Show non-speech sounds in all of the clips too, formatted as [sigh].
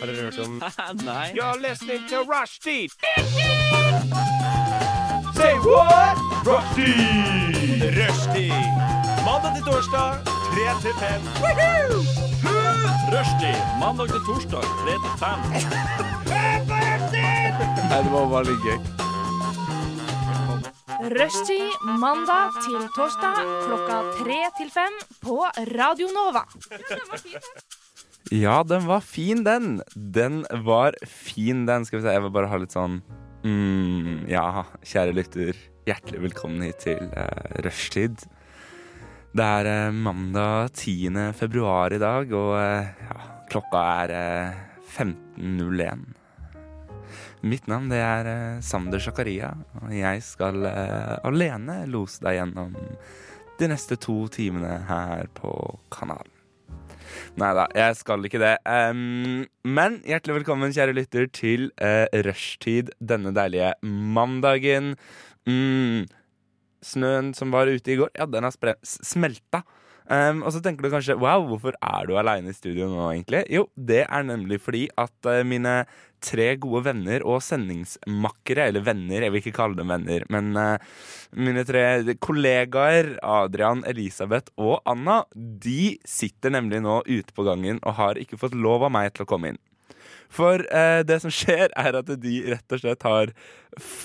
Har dere hørt om Nei. You're listening to Rushdie. Say what? Rushdie. Rushdie. Mandag til torsdag, 3 til 5. Rushdie mandag til torsdag 3 [laughs] til 5. Rushtid mandag til torsdag klokka tre til fem på Radio Nova. Ja, den var fin, den. Den var fin, den. Skal vi se, jeg vil bare ha litt sånn mm, Ja, kjære lytter. Hjertelig velkommen hit til eh, rushtid. Det er eh, mandag 10. februar i dag, og eh, ja, klokka er eh, 15.01. Mitt navn det er eh, Sander Zakaria, og jeg skal eh, alene lose deg gjennom de neste to timene her på kanalen. Nei da, jeg skal ikke det. Ehm, men hjertelig velkommen, kjære lytter, til uh, rushtid denne deilige mandagen. Mm, snøen som var ute i går, ja, den har spre- s- smelta. Ehm, og så tenker du kanskje wow, hvorfor er du aleine i studio nå, egentlig? Jo, det er nemlig fordi at eh, mine tre gode venner og sendingsmakkere, eller venner, jeg vil ikke kalle dem venner, men eh, mine tre kollegaer, Adrian, Elisabeth og Anna, de sitter nemlig nå ute på gangen og har ikke fått lov av meg til å komme inn. For eh, det som skjer, er at de rett og slett har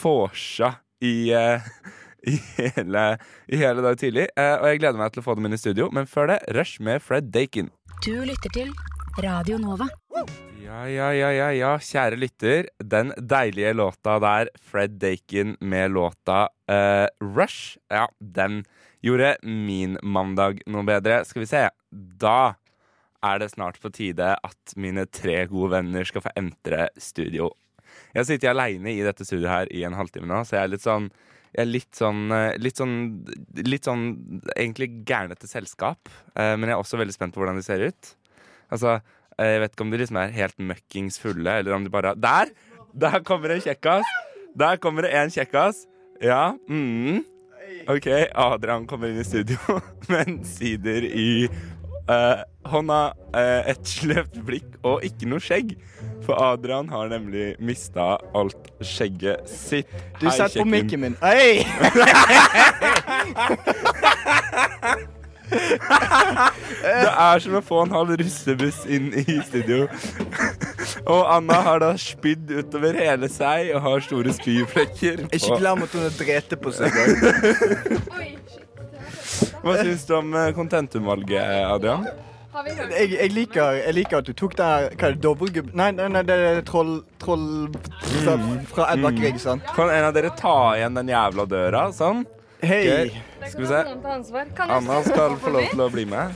vorsa i, eh, [laughs] i, hele, i hele dag tidlig. Eh, og jeg gleder meg til å få dem inn i studio, men før det, Rush med Fred Dakin. Du lytter til Radio Nova. Ja, ja, ja, ja, ja, kjære lytter. Den deilige låta der, Fred Dakin med låta eh, Rush, ja, den gjorde min mandag noe bedre. Skal vi se. Da er det snart på tide at mine tre gode venner skal få entre studio. Jeg har sittet aleine i dette studioet her i en halvtime nå, så jeg er litt sånn jeg er litt sånn, eh, litt sånn, litt sånn egentlig gærnete selskap. eh, Men jeg er også veldig spent på hvordan de ser ut. Altså, eh, jeg vet ikke om de liksom er helt møkkings fulle, eller om de bare Der! Der kommer en kjekkas! Der kommer det en kjekkas. Ja. Mm. OK, Adrian kommer inn i studio [laughs] med en sider i eh, hånda, eh, et sløvt blikk og ikke noe skjegg. For Adrian har nemlig mista alt skjegget sitt. Du Hei, satt på kjekken. mikken min. Hei! [laughs] Det er som å få en halv russebuss inn i studio. [laughs] Og Anna har da spydd utover hele seg og har store spyflekker. Ikke på- glem at hun har drept på seg i dag. Hva syns du om eh, kontentumvalget, Adrian? [laughs] Jeg, jeg, liker, jeg liker at du tok den her Hva er det, dobbeltgubb... Nei, nei, nei, det er troll... Troll... Fra, fra Mm. Edvard Grieg, sant? Kan en av dere ta igjen den jævla døra? Sånn. Hei! Gøy. Skal vi se. Anna skal få lov til å bli med.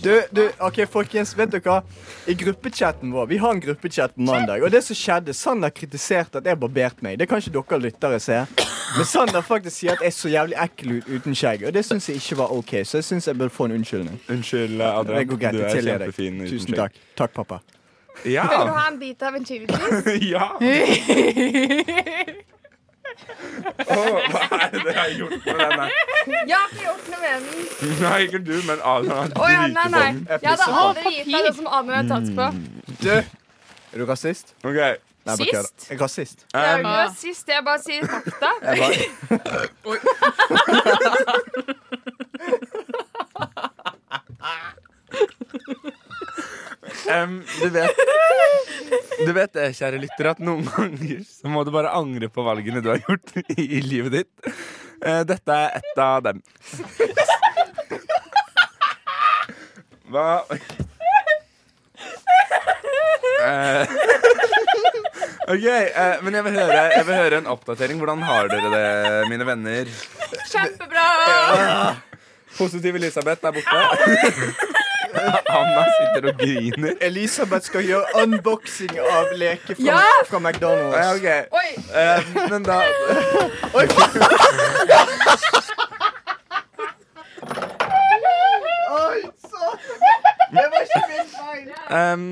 Du, du, OK, folkens. Vet dere hva? I gruppechatten vår Vi har en gruppechat på mandag, og det som skjedde Sander kritiserte at jeg barberte meg. Det kan ikke dere lyttere se. Men Sander faktisk sier at jeg er så jævlig ekkel ut uten skjegg, og det syns jeg ikke var OK, så jeg syns jeg burde få en unnskyldning. Unnskyld, eh, Det Adrian. går greit. Du Jeg er tilgir deg. kjempefin. uten Tusen skjegg. takk. Takk, pappa. Vil du Ja. ha en bit av en chili [laughs] cheese? [laughs] ja. Åh, hva er det jeg har gjort med den der? Jeg har ikke gjort noe med den. Nei, ikke du, men Adrian Å ja, har sånn nei, nei. driti på den. Jeg hadde aldri gitt deg det som Adrian har tatt på. Mm. Du! Er du rasist? Ok. Nei, bare kødder. Sist? Jeg er rasist. Jeg er jo ikke rasist, jeg bare sier fakta. Jeg bare, Em, du, vet, du vet det, kjære lytter, at noen ganger så må du bare angre på valgene du har gjort i, i livet ditt. Eh, dette er ett av dem. Hva Oi. Eh, OK, eh, men jeg vil, høre, jeg vil høre en oppdatering. Hvordan har dere det, mine venner? Kjempebra! Positiv Elisabeth er borte. Anna sitter og griner. Elisabeth skal gjøre unboxing av leker fra, Ja! fra Eh, McDonald's. ok. Oi, Eh, men [laughs] da Oi, satan! Det var ikke min feil. Ehm,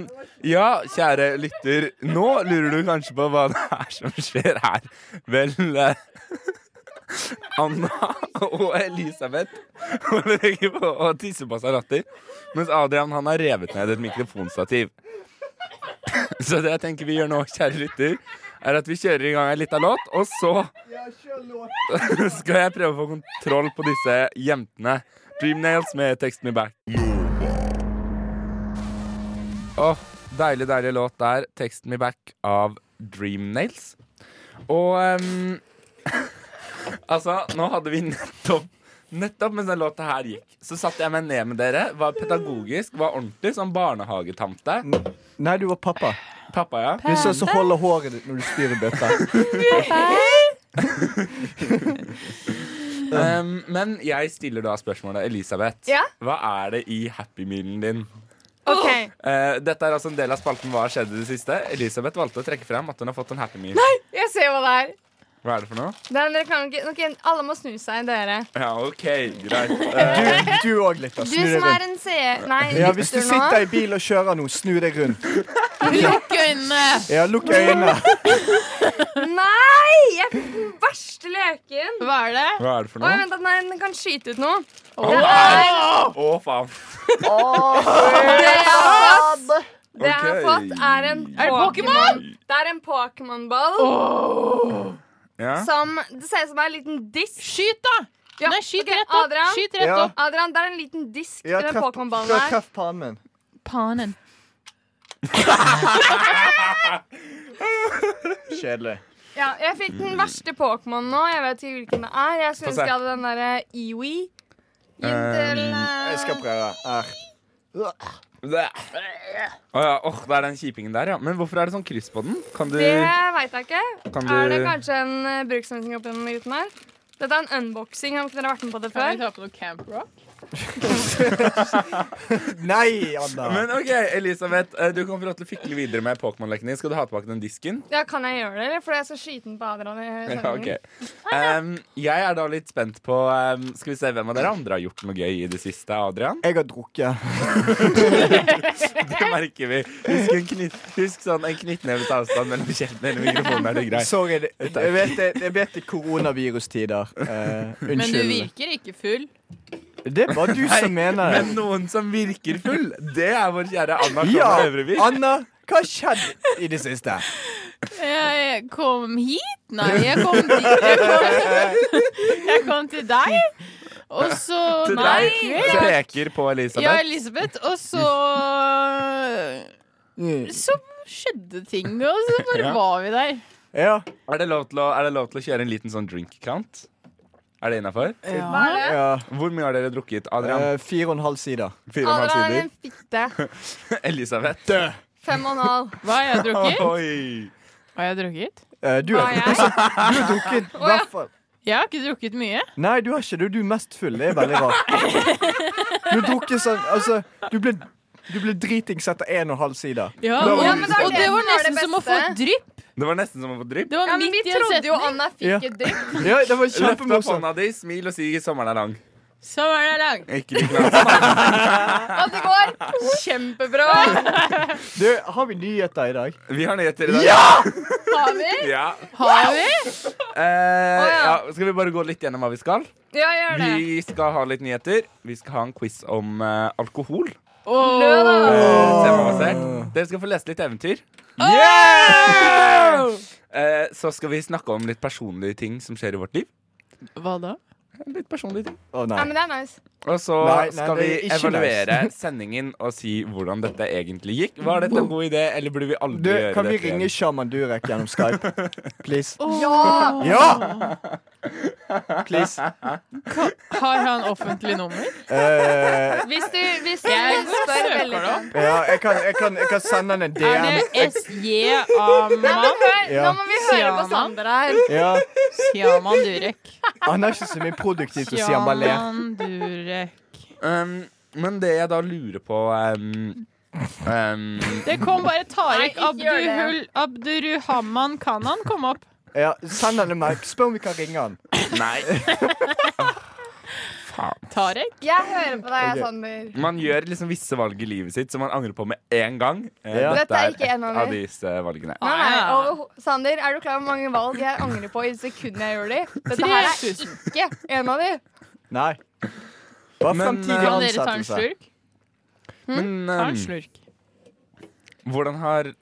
ja, kjære lytter. Nå lurer du kanskje på hva det er som skjer her. Vel eh, Anna og Elisabeth holder ikke på å tisse på seg latter, mens Adrian han har revet ned et mikrofonstativ. [laughs] Så det jeg tenker vi gjør nå, kjære lytter, er at vi kjører i gang en liten låt, og så [laughs] skal jeg prøve å få kontroll på disse jentene. Dreamnails med Text Me Back. Åh, deilig, deilig låt der. Text Me Back av Dreamnails. Og ehm, [laughs] altså, nå hadde vi nettopp Nettopp mens den låta her gikk, så satte jeg meg ned med dere. Var pedagogisk, var ordentlig som barnehagetamte. Nei, du var pappa. Pappa, ja. Du er sånn som holder håret ditt når du styrer bøtta. Um, men jeg stiller da spørsmålet, Elisabeth. Ja? Hva er det i Happy Mealen din? OK. Eh, dette er altså en del av spalten Hva har skjedd i det siste. Elisabeth valgte å trekke frem at hun har fått en Happy Meal. Jeg ser hva det er. Hva er det for noe? Det er en reklame. Ok, alle må snu seg, dere. Ja, OK, [laughs] greit. Du, Eh, du òg, lytter. Du Snu deg som er rundt. en seer Nei, Ja, hvis du lytter nå. sitter i bil og kjører nå, snu deg rundt. Lukk øynene! Ja, lukk øynene. Nei! Jeg fikk den verste leken. Hva er det? hva er det for Oi, noe? vent, da, nei, den kan skyte ut noe. Å, faen. Det jeg har fått, det jeg har Ok. fått er en det Pokémon. Det er en Pokémon-ball Ja. som Det ser ut som en liten disk. Skyt, da! Ja, Nei, skyt ok, rett opp! Adrian. Skyt rett Ja. opp. Adrian, det er en liten disk Ja, i den treff, Pokémon-ballen ja, her. treff pannen min. Panen. Kjedelig. Ja, jeg fikk den verste Pokémon nå. Jeg vet ikke hvilken det er. Jeg Mm. Få skulle se. Ehm, ønske jeg hadde den derre Ewi. Inntil eh, Jeg skal prøve. Her. Det. Å ja, åh, det er den kjipingen der, ja. Men hvorfor er det sånn kryss på den? Kan du Det veit jeg ikke. Kan Er det du- kanskje en eh, bruksanvisning oppi den gutten her? Dette er en unboxing. Har ikke dere vært med på det Kan vi før? ta på noe Camp Rock? Nei, Anna. Men OK, Elisabeth, eh, du kommer til å fikle videre med Pokémon-leken din. Skal du ha tilbake den disken? Ja, Kan jeg gjøre det, eller? Fordi jeg skal skyte den på Adrian. i Ja, sendingen. ok um, Jeg er da litt spent på um, Skal vi se hvem av dere andre har gjort noe gøy i det siste, Adrian? Jeg har drukket. Det merker vi. Husk, en knytt, husk sånn en knyttneves avstand mellom kjeften og mikrofonen. Er det greit? Sorry. det- Jeg vet det, jeg vet det er koronavirustider. Eh, Men du unnskyld. virker ikke full. Det er bare du som mener Men det. noen som virker full, det er vår kjære Anna Ja, Klovne Øvrevik. Anna, hva har skjedd i det siste? Jeg kom hit? Nei, jeg kom dit. Jeg kom, [laughs] jeg kom til deg. Og så Til Nei. deg peker på Ja, Elisabeth. Elisabeth. Og så Mm. Så skjedde ting, og så bare Ja. var vi der. Ja. Er, det lov til å, er det lov til å kjøre en liten sånn drink count? Er det innafor? ja. Hvor mye har dere drukket? Adrian? Eh, fire og en halv side. Fire og en Adrian halv sider? er en fitte. [laughs] Elisabeth? Død. Fem og en [laughs] halv. Hva har jeg drukket? Oi! Har jeg drukket? Eh, du Hva har er jeg? du har [laughs] drukket i hvert fall Jeg har ikke drukket mye. Nei, du har ikke det. Du er mest full. Det er veldig rart. Du har drukket sånn Altså, du ble, du ble dritings etter en og en halv side. Ja, Det var- og, Ja, men det var og det det som var var det nesten som å få beste. et drypp. Det var nesten som å få drypp. Det var Ja, men vi midt i en trodde jo setning. Anna Ja. fikk et drypp. Ja, det var Løft opp kjempemorsomt. hånda di, smil og si 'sommeren er lang'. Så var det lang. Ikke lik navn. Og det [laughs] går kjempebra. Du, har vi nyheter i dag? Vi har nyheter i dag. Ja! Har vi? Har vi? Eh, Å, ja. ja. Skal vi bare gå litt gjennom hva vi skal? Ja, gjør det. Vi skal ha litt nyheter. Vi skal ha en quiz om eh, alkohol. Åh. Eh. Temabasert. Dere skal få lese litt eventyr. Eh, så skal vi snakke om litt personlige ting som skjer i vårt liv. Hva da? Litt personlige ting. Å Ja, nei. men det er nice. Og så Nei, nei, skal vi det er ikke evaluere sendingen og si hvordan dette egentlig gikk. Var dette en god idé, eller burde vi aldri Du, gjøre kan vi dette? igjen? ringe Shaman Durek gjennom Skype? [laughs] Please. Ja! Ja! [laughs] Please. Har han offentlig nummer? Eh, Hvis du, hvis du Jeg spør søker veldig det opp. ja, jeg kan, jeg, kan, jeg kan sende han en Er DM. det SJ-Aman? Hør, Ja. Nå må vi høre på Siaman. Sander her. Ja. Siaman Durek. Han er ikke så mye produktivt å si han bare ler. Siaman Durek. Um, men det jeg da lurer på um, um, Det kom bare Tarek Nei, ikke gjør det. Abduhul Abduruhaman Kanan kom opp. Ja, send han en merk. Spør om vi kan ringe han. Nei. Tarek? Jeg hører på deg, Ok. Sander. Man gjør liksom visse valg i livet sitt som man angrer på med en gang. Eh, Ja. Dette er ikke et en av de. av disse valgene. Nei, nei. Ah, ja. Og, Sander, er du klar over hvor mange valg jeg angrer på i det sekundet jeg gjør de? Dette her er 3000. ikke en av de. Nei. Hva er Men, fremtidig eh, Kan dere ta en Mhm. ansettelse? slurk? Men Ta en um, slurk. hvordan har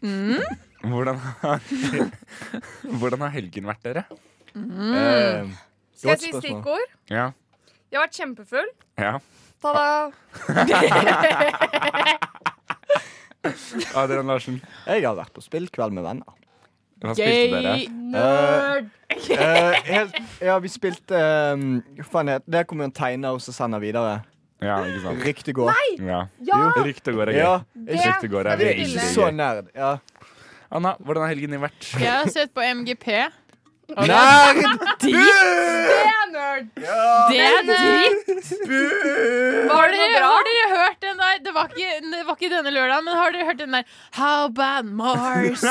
Mhm. Hvordan har, [laughs] hvordan har helgen vært, dere? Mm. Eh, Skal jeg godt si spørsmål. stikkord? Ja. Jeg har vært kjempefull. ja. Ta-da! Adrian Larsen, Jeg har vært på spillkveld med venner. hva spiste dere? Gøy! Nerd! Eh, helt, ja, vi spilte ehm, Hva faen het Der kommer jo en tegner og så sender videre. Ja, ikke sant? Riktig god. Ja. Ja! Ryktet går er gøy. Ja, Sånn. Ryktet går er skal vi ikke veldig spille. så gøy. nerd. Ja. Anna, hvordan har helgen din vært? Jeg har sett på MGP. Nerd! [laughs] Det er nerd! Det er Men, eh, dritt! Var Har det noe dere, bra? har dere hørt den der det var, ikke, det var ikke denne lørdagen, men har dere hørt den der How about Mars?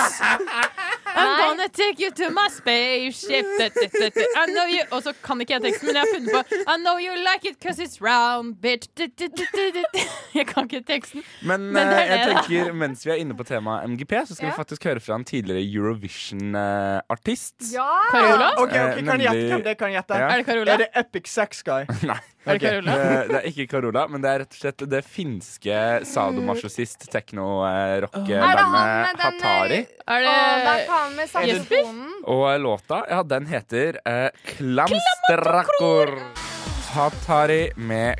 I'm gonna take you to my spaceship da, da, da, da. I know you Og så kan ikke jeg teksten, men jeg har funnet på I know you like it cause it's round, bitch da, da, da, da, da, [laughs] da. Jeg kan ikke teksten. Men, Men det er eh, jeg det, da. tenker, mens vi er inne på temaet MGP, så skal Ja. vi faktisk høre fra en tidligere [laughs] Eurovision-artist. Ja! Carola? OK, ok, Eh, kan jeg gjette nemlig- hvem det er, kan jeg gjette? Ja. Er det Carola? Er det Epic Sex Guy? [laughs] Nei, Er det Ok. Carola? eh, det er ikke Carola, men det er rett og slett det finske sadomasochist Er det han tekno-rock-bandet med den Hatari. eh, Er Å, det er det han med saksofonen. Og låta, ja, den heter eh, Klamstrakor. Hatari med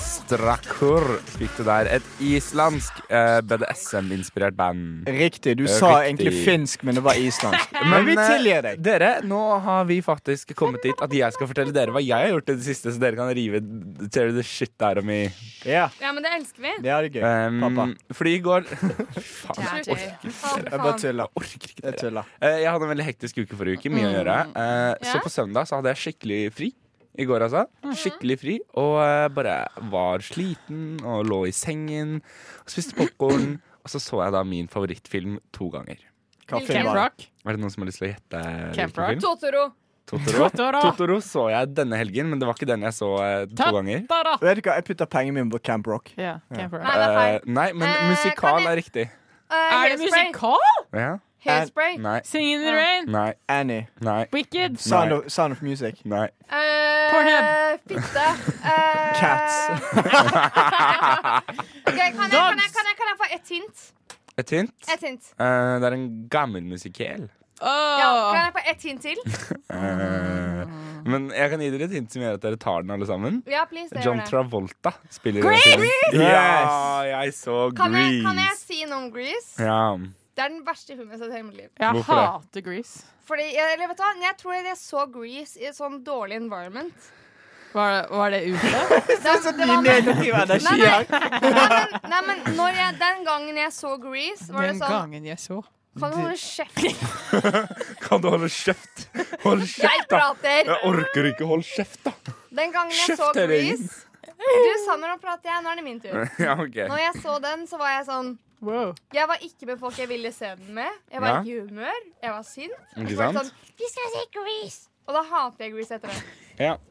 Klamstrakor fikk du der. Et islandsk eh, BDSM-inspirert band. Riktig. Du Eh, sa riktig. egentlig finsk, men det var [laughs] islandsk. Men vi eh, tilgir deg. Dere, nå har vi faktisk kommet dit at jeg skal fortelle dere hva jeg har gjort i det siste, så dere kan rive tear the shit out of me. Ja, Ja, men det elsker vi. det er det gøy. Um, Pappa. Fordi i går [laughs] Fy faen, jeg Jerry. orker Faen, Jeg bare faen. tuller. orker ikke Jeg dere. tuller. Eh, Jeg hadde en veldig hektisk uke forrige uke. Mye å gjøre. Eh, Så Ja. på søndag så hadde jeg skikkelig fri. I går, altså. Skikkelig fri. Og eh, bare var sliten og lå i sengen. Og spiste popkorn. Og så så jeg da min favorittfilm to ganger. Kaffe Camp var Rock? Er det noen som har lyst til å gjette Camp hvilken Rock? film? Totoro. Totoro. Totoro. Totoro så jeg denne helgen, men det var ikke den jeg så eh, to Ta- ganger. Da, da. Vet du hva, jeg putter pengene mine på Camp Rock. Ja, Camp Rock. Nei, det er feil. Eh, nei, men Eh, kan musikal jeg- er riktig. Eh, Er det hairspray. musikal? Ja? Hairspray. Nei. Sing in the rain? Nei. Annie. Nei. Wicked? Sound of, sound of Music. Nei. Eh, Pornhub. Fitte. Eh, Cats. ok, kan, jeg, kan, jeg, kan, jeg, kan jeg få et hint? Et hint. Et hint. Eh, det er en gammel musikal. Ja, Åh. kan jeg få et hint til? Ah. Eh, Men jeg kan gi dere et hint som gjør at dere tar den alle sammen. Ja, please. det John gjør det. Travolta spiller Grease! i den filmen. Ja, jeg så Kan jeg, kan jeg Grease. si noe om Grease? Ja. Det er den verste filmen jeg har sett i hele mitt liv. Jeg Hvorfor det? hater Grease. Fordi, eller vet du hva, Jeg tror jeg så Grease i et sånn dårlig environment. Var, var det ute? Det, det var, nei, Negativ energi nei, her. men, nei, men når jeg, Den gangen jeg så Grease, var det Den sånn gangen jeg så. Kan du holde kjeft? Kan du holde kjeft? Hold Jeg kjeft, da! prater! Jeg orker ikke, hold kjeft, da! [laughs] Den gangen jeg Kjeft så hele gjengen. Grease Du, Sanner, nå prater jeg. Nå er det min tur. Ja, ok. Når jeg så den, så var jeg sånn Wow. Jeg var ikke med folk jeg ville se den med. Jeg var Ja. ikke i humør. Jeg var sint. Ikke Så var det sant? Sånn, Vi skal se Grease! Og da hater jeg Grease etter det. Ja. [laughs]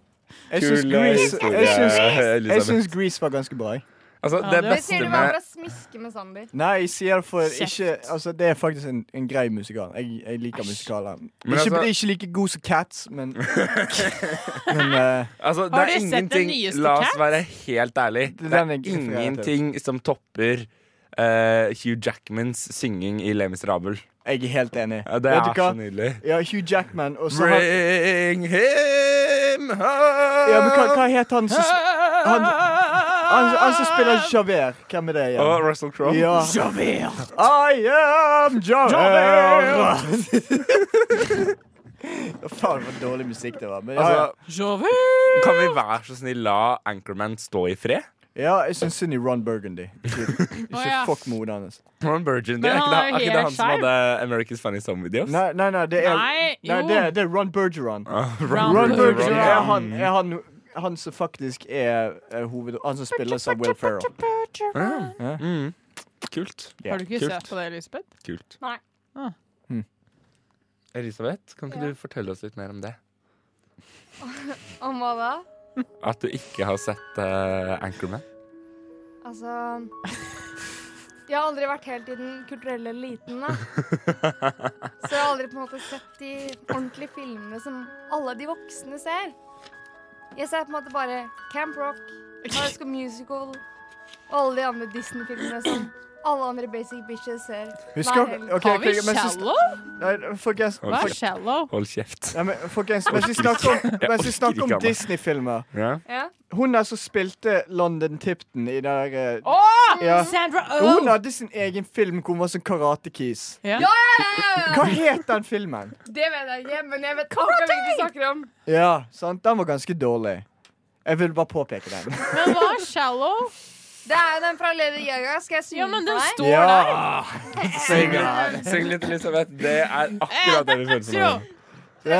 Jeg syns Kul, eh, Grease, historie, jeg syns- jeg Elisabeth. syns Grease var ganske bra. jeg. Altså, Ja, det det- Det sier beste du bare med for å smiske med Sander. Nei, jeg sier det for Kjeft. ikke Altså, det er faktisk en, en grei musikal. Jeg, jeg liker musikaler. Ikke, altså- ikke like god som Cats, men Men eh, altså, det Har er du sett den ingenting, nyeste La oss Cats? være helt ærlig. Den Det er er jeg ikke referert ingenting som topper eh, Hugh Jackmans synging i Le Miserable. jeg er helt enig. Ja, Det Vet er du hva? så nydelig. Ja, Hugh Jackman og så han, Bring him home! ja, men hva, hva het han som sp- han, han, han som spiller Javert? Hvem er det igjen? Og Russell Crowe. Ja. Javert. I am Javert! [laughs] Faen, for dårlig musikk det var. Men, ja, ja. Altså, kan vi være så snill la Anchorman stå i fred? ja, jeg syns synd i Ron Burgundy. Ikke, [laughs] Å, ikke ja. fuck moren hans. Ron Burgundy, Men er ikke det, er han er jo ikke det helt han som skeiv. hadde America's Funniest Home Videos? Nei, nei, nei, det er, Nei, nei, jo. det er, det er Ron Bergeron. Ah, Ron Ron Bergeron Bergeron. er han, er han, han som faktisk er, er hoved... Han som spilles av Will Ferrell. Ja. Mm. Kult. Ja, Har du ikke kult. sett på det, Lisbeth? Kult. Nei. Ah. Mm. Elisabeth, kan ikke du fortelle oss litt mer om det? Om hva da? At du ikke har sett eh, Anchorman? Altså Jeg har aldri vært helt i den kulturelle eliten, [laughs] da. Så jeg har aldri på en måte sett de ordentlige filmene som alle de voksne ser. Jeg ser på en måte bare Camp Rock, High School Musical og alle de andre Disney-filmene som Alle andre basic bitches ser Husker Nei, ok, Har vi ok, mens vi- shallow? Nei, folkens, Hva mens er shallow? Hold kjeft. Nei, men folkens, mens vi orker snakker om, Jeg mens vi orker snakker ikke, om Anna. Disney-filmer Ja. Ja. Hun der som spilte London Tipton i der eh, Åh! ja. Sandra Oh! Hun hadde sin egen film hvor hun var sånn karatekis. Ja. Hva het den filmen? Det vet jeg ikke, men jeg vet akkurat hva du snakker om. Ja, sant? Den var ganske dårlig. Jeg vil bare påpeke den. Men hva er shallow? Det er den fra Lady Gaga. Skal jeg synge Ja, men for den deg? står der. Syng litt, syng litt, Elisabeth. Det er akkurat det vi følte som. Tro. nå. Ja.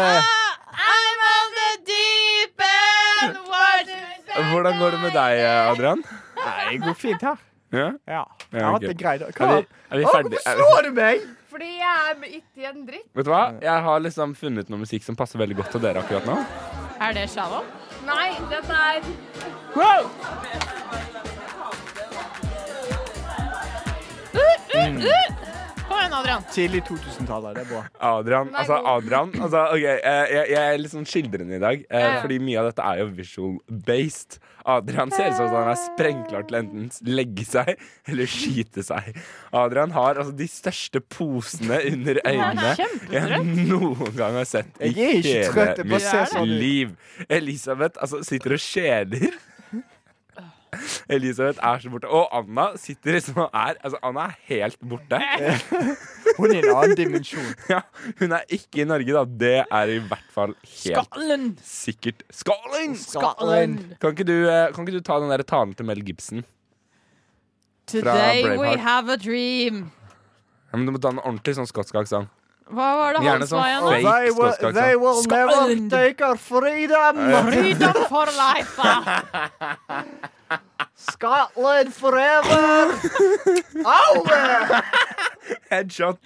I'm on the deep end waters Hvordan går det med deg, eh, Adrian? Nei, det går fint her. Ja? Ja. Jeg Ja, har ok. hatt en grei dag. Er Hva? vi, er vi Å, ferdig? hvorfor slår du meg? Fordi jeg er ikke i en dritt. Vet du hva? Jeg har liksom funnet noe musikk som passer veldig godt til dere akkurat nå. Er det shallow? Nei, dette er Kom igjen, Adrian. Tidlig 2000-tallet. Det er bra. Adrian, Vær altså god. Adrian altså, ok, eh, jeg, jeg er litt sånn skildrende i dag, eh, Ja. fordi mye av dette er jo visual-based. Adrian ser ut som at han er sprengklar til enten legge seg eller skyte seg. Adrian har altså de største posene under øynene jeg noen gang har sett i Jeg er ikke hele trøtt, jeg bare ser mitt sånn ut. liv. Elisabeth altså, sitter og [laughs] kjeler. Elisabeth er så borte. Og Anna sitter liksom og er Altså, Anna er helt [laughs] borte. Hun er i en annen dimensjon. Ja, hun er ikke i Norge, da. Det er i hvert fall helt Scotland. sikkert Skåling! Scotland. Kan ikke, du, eh, kan ikke du ta den der talen til Mel Gibson? Today we Braveheart. have a dream. Ja, men Du må ta en ordentlig sånn skotsk aksent. Hva var det Gjerne han sa sånn igjen? fake. nå? They will, they will never Scotland. take our freedom. Freedom for life. ah. Scotland forever. Au! Headshot.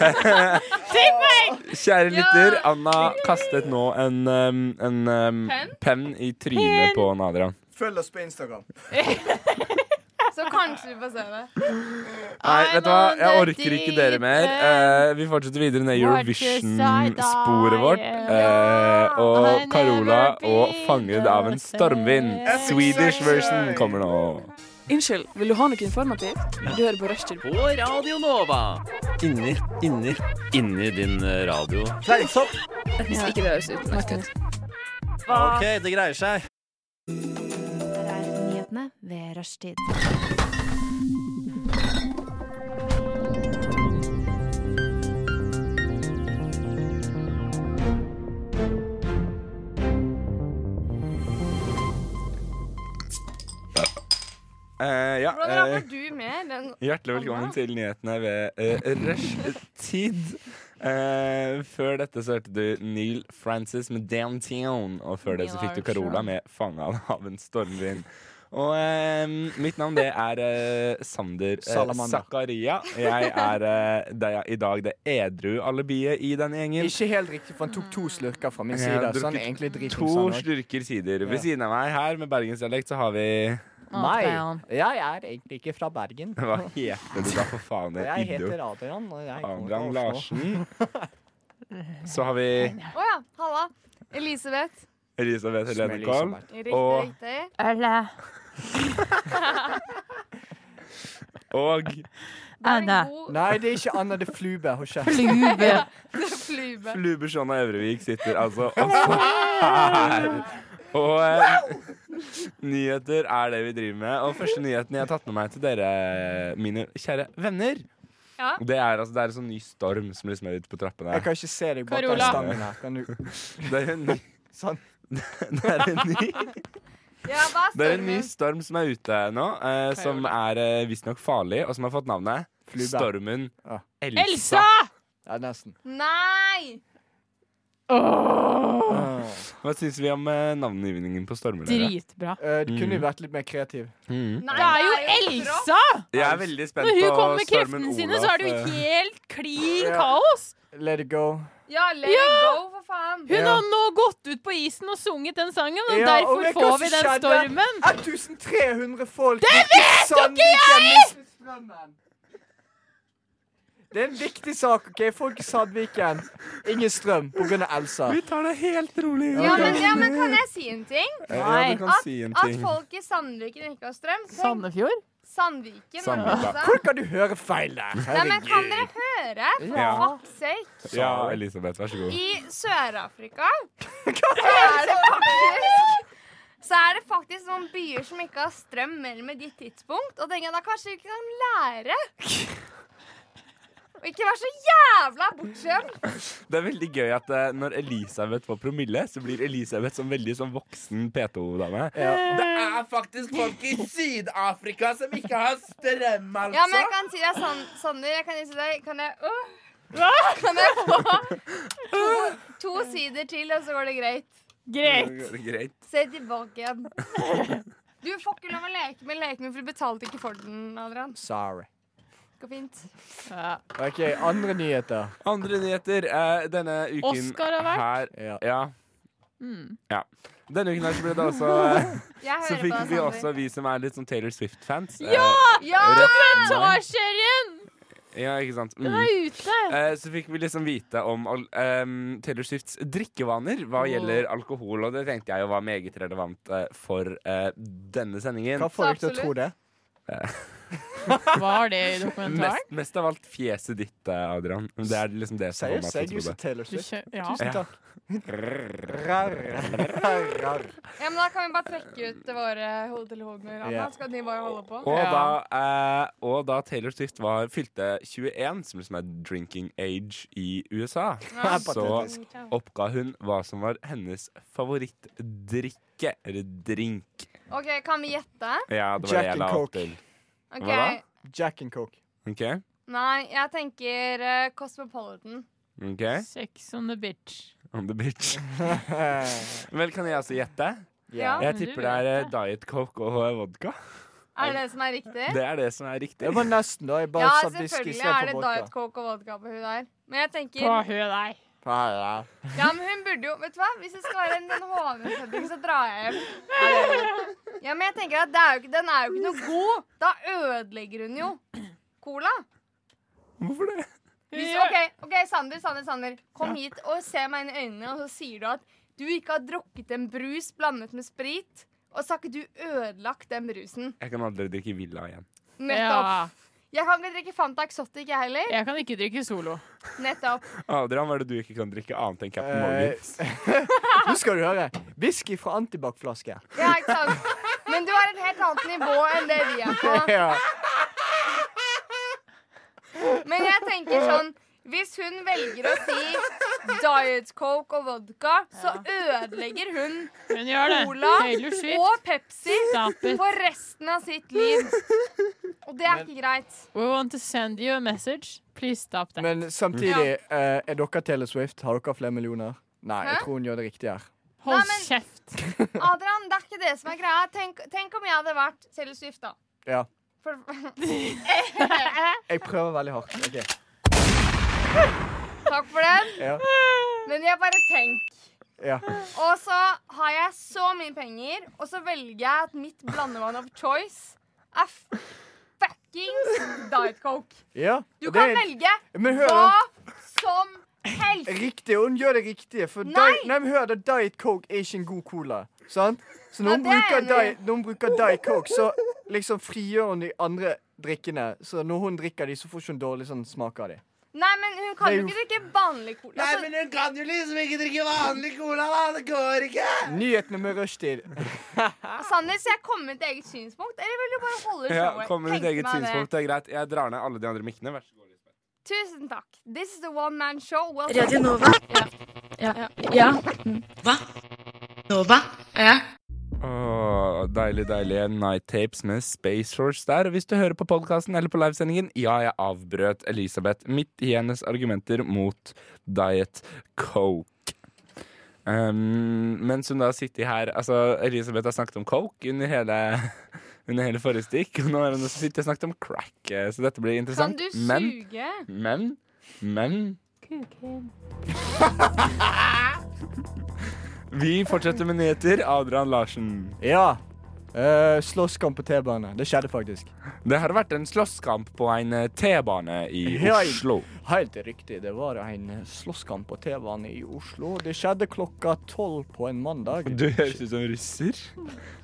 Tenk meg! Kjære lytter, Anna kastet nå en, um, en um, penn i trynet på Adrian. Følg oss på Instagram. Så kanskje du får se det. Nei, vet du hva, jeg I'm on the orker ikke dere deep mer. end. Eh, vi fortsetter videre ned What is I Eurovision-sporet vårt. dying? Eh, I og never Carola be og 'Fanget av en stormvind'. the same. Swedish version kommer nå. Unnskyld, vil du ha noe informativt? Du hører på Rushtid. På Radio Nova. Inni, inni, inni din radio. Fleisopp. Hvis ikke det høres utenlandsk ut. OK, det greier seg. Der er nyhetene ved rushtid. Eh, ja, Hvordan eh, rammer du mer enn Hjertelig velkommen Anna? til nyhetene ved uh, rushtid. Eh, før dette så hørte du Neil Francis med 'Downtown'. Og før det så fikk du Carola med 'Fanga av en stormvind'. Og eh, mitt navn det er eh, Sander uh, Salamander. Zakaria. Jeg er eh, det, i dag det edru alibiet i denne gjengen. Ikke helt riktig, for han tok to slurker fra min Jeg side. har Så han drukket er egentlig dritings. To han også. slurker sider. Ja. Ved siden av meg her med bergensdialekt så har vi [laughs] Nei, Adrian. jeg er egentlig ikke fra Bergen. Hva heter du da, for faen? Jeg idiot? heter Adrian. Og jeg kommer fra Adrian Oslo. Larsen. Så har vi Å ja, halla. Elisabeth. Elisabeth Smell Helene Kohl. Elisabeth. Riktig, Og- riktig. Eller Og Det er Anna. en god Nei, det er ikke Anna, det er Flube. Hun kjenner. Flube. flybe. Flubesjona Øvrevik sitter altså også her. Og eh, nyheter er det vi driver med. Og første nyheten jeg har tatt med meg til dere, mine kjære venner, Ja. det er altså det er en sånn ny storm som liksom er ute på trappene. Jeg kan ikke se deg bak den Carola. stangen her. Kan du? Det er en ny, Sånn. det er en ny Ja, hva er Det er en ny stormen? storm som er ute nå, eh, som er eh, visstnok farlig, og som har fått navnet Flube. Stormen Ja. Elsa. Elsa! Ja, nesten. Nei! Hva syns vi om eh, navngivningen på stormer? dere? Dritbra. Eh, du kunne jo Mm. vært litt mer kreativ. Mhm. Nei, Det er jo trått. Elsa! Jeg er veldig spent Når hun på kommer med stormen kreftene sine, Olaf. så er det jo eh, helt klin Ja. kaos. Let it go. Ja, let it go, for faen. Hun Ja. har nå gått ut på isen og sunget den sangen, og Ja, og derfor vet du hva får som vi den skjedde? stormen. 1300 folk Det vet ikke jeg! Det er en viktig sak. ok? Folk i Sandviken. Ingen strøm pga. Elsa. Vi tar det helt rolig. Ja men, ja, men kan jeg si en ting? Ja, du kan si en At ting. folk i Sandviken ikke har strøm. Tenk, Sandefjord? Sandviken. Sandvika. Altså. Hvor kan du høre feil der? Nei, men kan dere høre? For Ja. fuck's sake. Ja, Elisabeth, vær så god. I Sør-Afrika [laughs] så er det faktisk så er det faktisk noen byer som ikke har strøm mellom et gitt tidspunkt. Og tenker jeg da kanskje vi kan lære. Og ikke være så jævla bortskjemt. Det er veldig gøy at eh, når Elisabeth får promille, så blir Elisabeth som veldig sånn voksen P2-dame. Det er faktisk folk i Syd-Afrika som ikke har strøm, altså! Ja, men jeg kan si deg, San Sander, jeg kan si deg Kan jeg Åh! Kan jeg få to, to sider til, og så går det greit? Greit. Greit. Se tilbake igjen. Du får ikke lov å leke med leken min, for du betalte ikke for den, Adrian. Sorry. Går fint. Ja. OK, andre nyheter. Andre nyheter. eh, denne uken Oscar har vært. her Ja. ja. Mm. ja. Denne uken her så ble det også [laughs] eh, Jeg Så hører fikk på vi deg, også, Sander. vi som er litt sånn Taylor Swift-fans eh, Ja! Ja! rett- Tårserien! Ja, ikke sant? Den Mm. er ute. Eh, Så fikk vi liksom vite om al- ehm, Taylor Swifts drikkevaner hva gjelder alkohol, og det tenkte jeg jo var meget relevant eh, for eh, denne sendingen. Hva får dere til å absolutt. tro det? Var det i dokumentaren? Mest, mest av alt fjeset ditt, eh, Adrian. Det er liksom det som får Seriøst, meg jeg til å husker tro det. Taylor Du Swift. kjø- Ja. Tusen Ja. takk. Rar, rar, rar. Ja, men da kan vi bare trekke ut våre hodetelefoner. Ja. Anna, skal de bare holde på? Og Ja. da, eh, og da Taylor Swift var, fylte 21, som liksom er drinking age i USA, Ja. så Patetisk. oppga hun hva som var hennes favorittdrikke, eller drink. OK, kan vi gjette? Ja, det var Jack det jeg and la opp Coke. til. Ok, Hva da? Jack and [laughs] Coke. Ok? Nei, jeg tenker eh, Cosmopolitan. Ok? Sex on the bitch. On the bitch. [laughs] Vel, kan jeg også gjette? Ja. Jeg men du tipper det er eh, vet Diet Coke og eh, vodka. Er det det som er riktig? Det er det som er riktig. Det var nesten, da. Jeg bare Ja, sa whisky selvfølgelig er det istedenfor Diet vodka. Coke og vodka på hun der. Men jeg tenker På hun der. Ja, men hun burde jo Vet du hva? Hvis det skal være en sånn hovedsetning, så drar jeg hjem. Ja, men jeg tenker at det er jo ikke, den er jo ikke noe god. Da ødelegger hun jo cola. Hvorfor det? Hvis, OK, ok, Sander, Sander, Sander. Kom hit og se meg inn i øynene, og så sier du at du ikke har drukket en brus blandet med sprit. Og så har ikke du ødelagt den brusen. Jeg kan aldri drikke Villa igjen. Nettopp. Ja. Jeg kan ikke drikke Fanta Exotic, jeg heller. Jeg kan ikke drikke solo. Nettopp. Adrian, hva er det du ikke kan drikke annet enn Captain Eh, Morgans? [laughs] Nå skal du høre. Whisky fra antibac-flaske. Ja, ikke sant? Men du har et helt annet nivå enn det vi er på. Ja. Men jeg tenker sånn Hvis hun velger å si Diet Coke og vodka, så ødelegger hun Hun gjør det. Cola Taylor Swift. og Pepsi Stop it. for resten av sitt liv. Og det er ikke greit. We want to send you a message. Please stop that. Men samtidig, eh, er dere Taylor Swift? Har dere flere millioner? Nei, jeg Hæ? tror hun gjør det riktig her. Hold Nei, men- kjeft. Adrian, det er ikke det som er greia. Tenk, tenk om jeg hadde vært Taylor Swift, da. Ja. For, [laughs] Jeg prøver veldig hardt. Ok. takk for den. Ja. Men jeg bare tenk. Ja. Og så har jeg så mye penger, og så velger jeg at mitt blandevann of choice er f- fuckings Diet Coke. ja. Du og kan det er- velge Men hør, hva da. som helst. Riktig, hun gjør det riktige. For Nei! Di nei, men hør, da, Diet Coke er ikke en god cola. Sant? Så når hun, Nei, det er bruker, jeg enig i. diet, når hun bruker Diet Coke, så liksom frigjør hun de andre drikkene. Så når hun drikker de, så får ikke hun dårlig sånn smak av de. Nei, men hun kan Det er jo- jo ikke drikke vanlig cola. Altså, hun kan jo liksom ikke drikke vanlig cola, da! Det går ikke! Nyhetene med rushtid. Sander, skal jeg komme med et eget synspunkt, eller vil du bare holde Ja, showet? Kom med ditt Tenkte eget meg det. synspunkt. Det er greit. Jeg drar ned alle de andre mikkene. Vær så god. Lisbeth. Tusen takk. This is the one man show. Well, Radio Nova. Ja. Ja. ja. Hva? Nova? Ja. Åh, deilig, deilige Night Tapes med Space Shorts der. Og hvis du hører på podkasten eller på livesendingen Ja, jeg avbrøt Elisabeth midt i hennes argumenter mot Diet Coke. Um, mens hun da sitter her Altså, Elisabeth har snakket om coke under hele, [laughs] under hele forrige stikk. Og nå har hun også sittet og snakket om crack, eh, så dette blir kan interessant. du Men suge? Men, men [laughs] Vi fortsetter med nyheter. Adrian Larsen. Ja. Eh, slåsskamp på T-bane. Det skjedde faktisk. Det har vært en slåsskamp på en eh, T-bane i Ja, i- Oslo. Helt riktig. Det var en eh, slåsskamp på T-bane i Oslo. Det skjedde klokka tolv på en mandag. Du høres ut som en russer.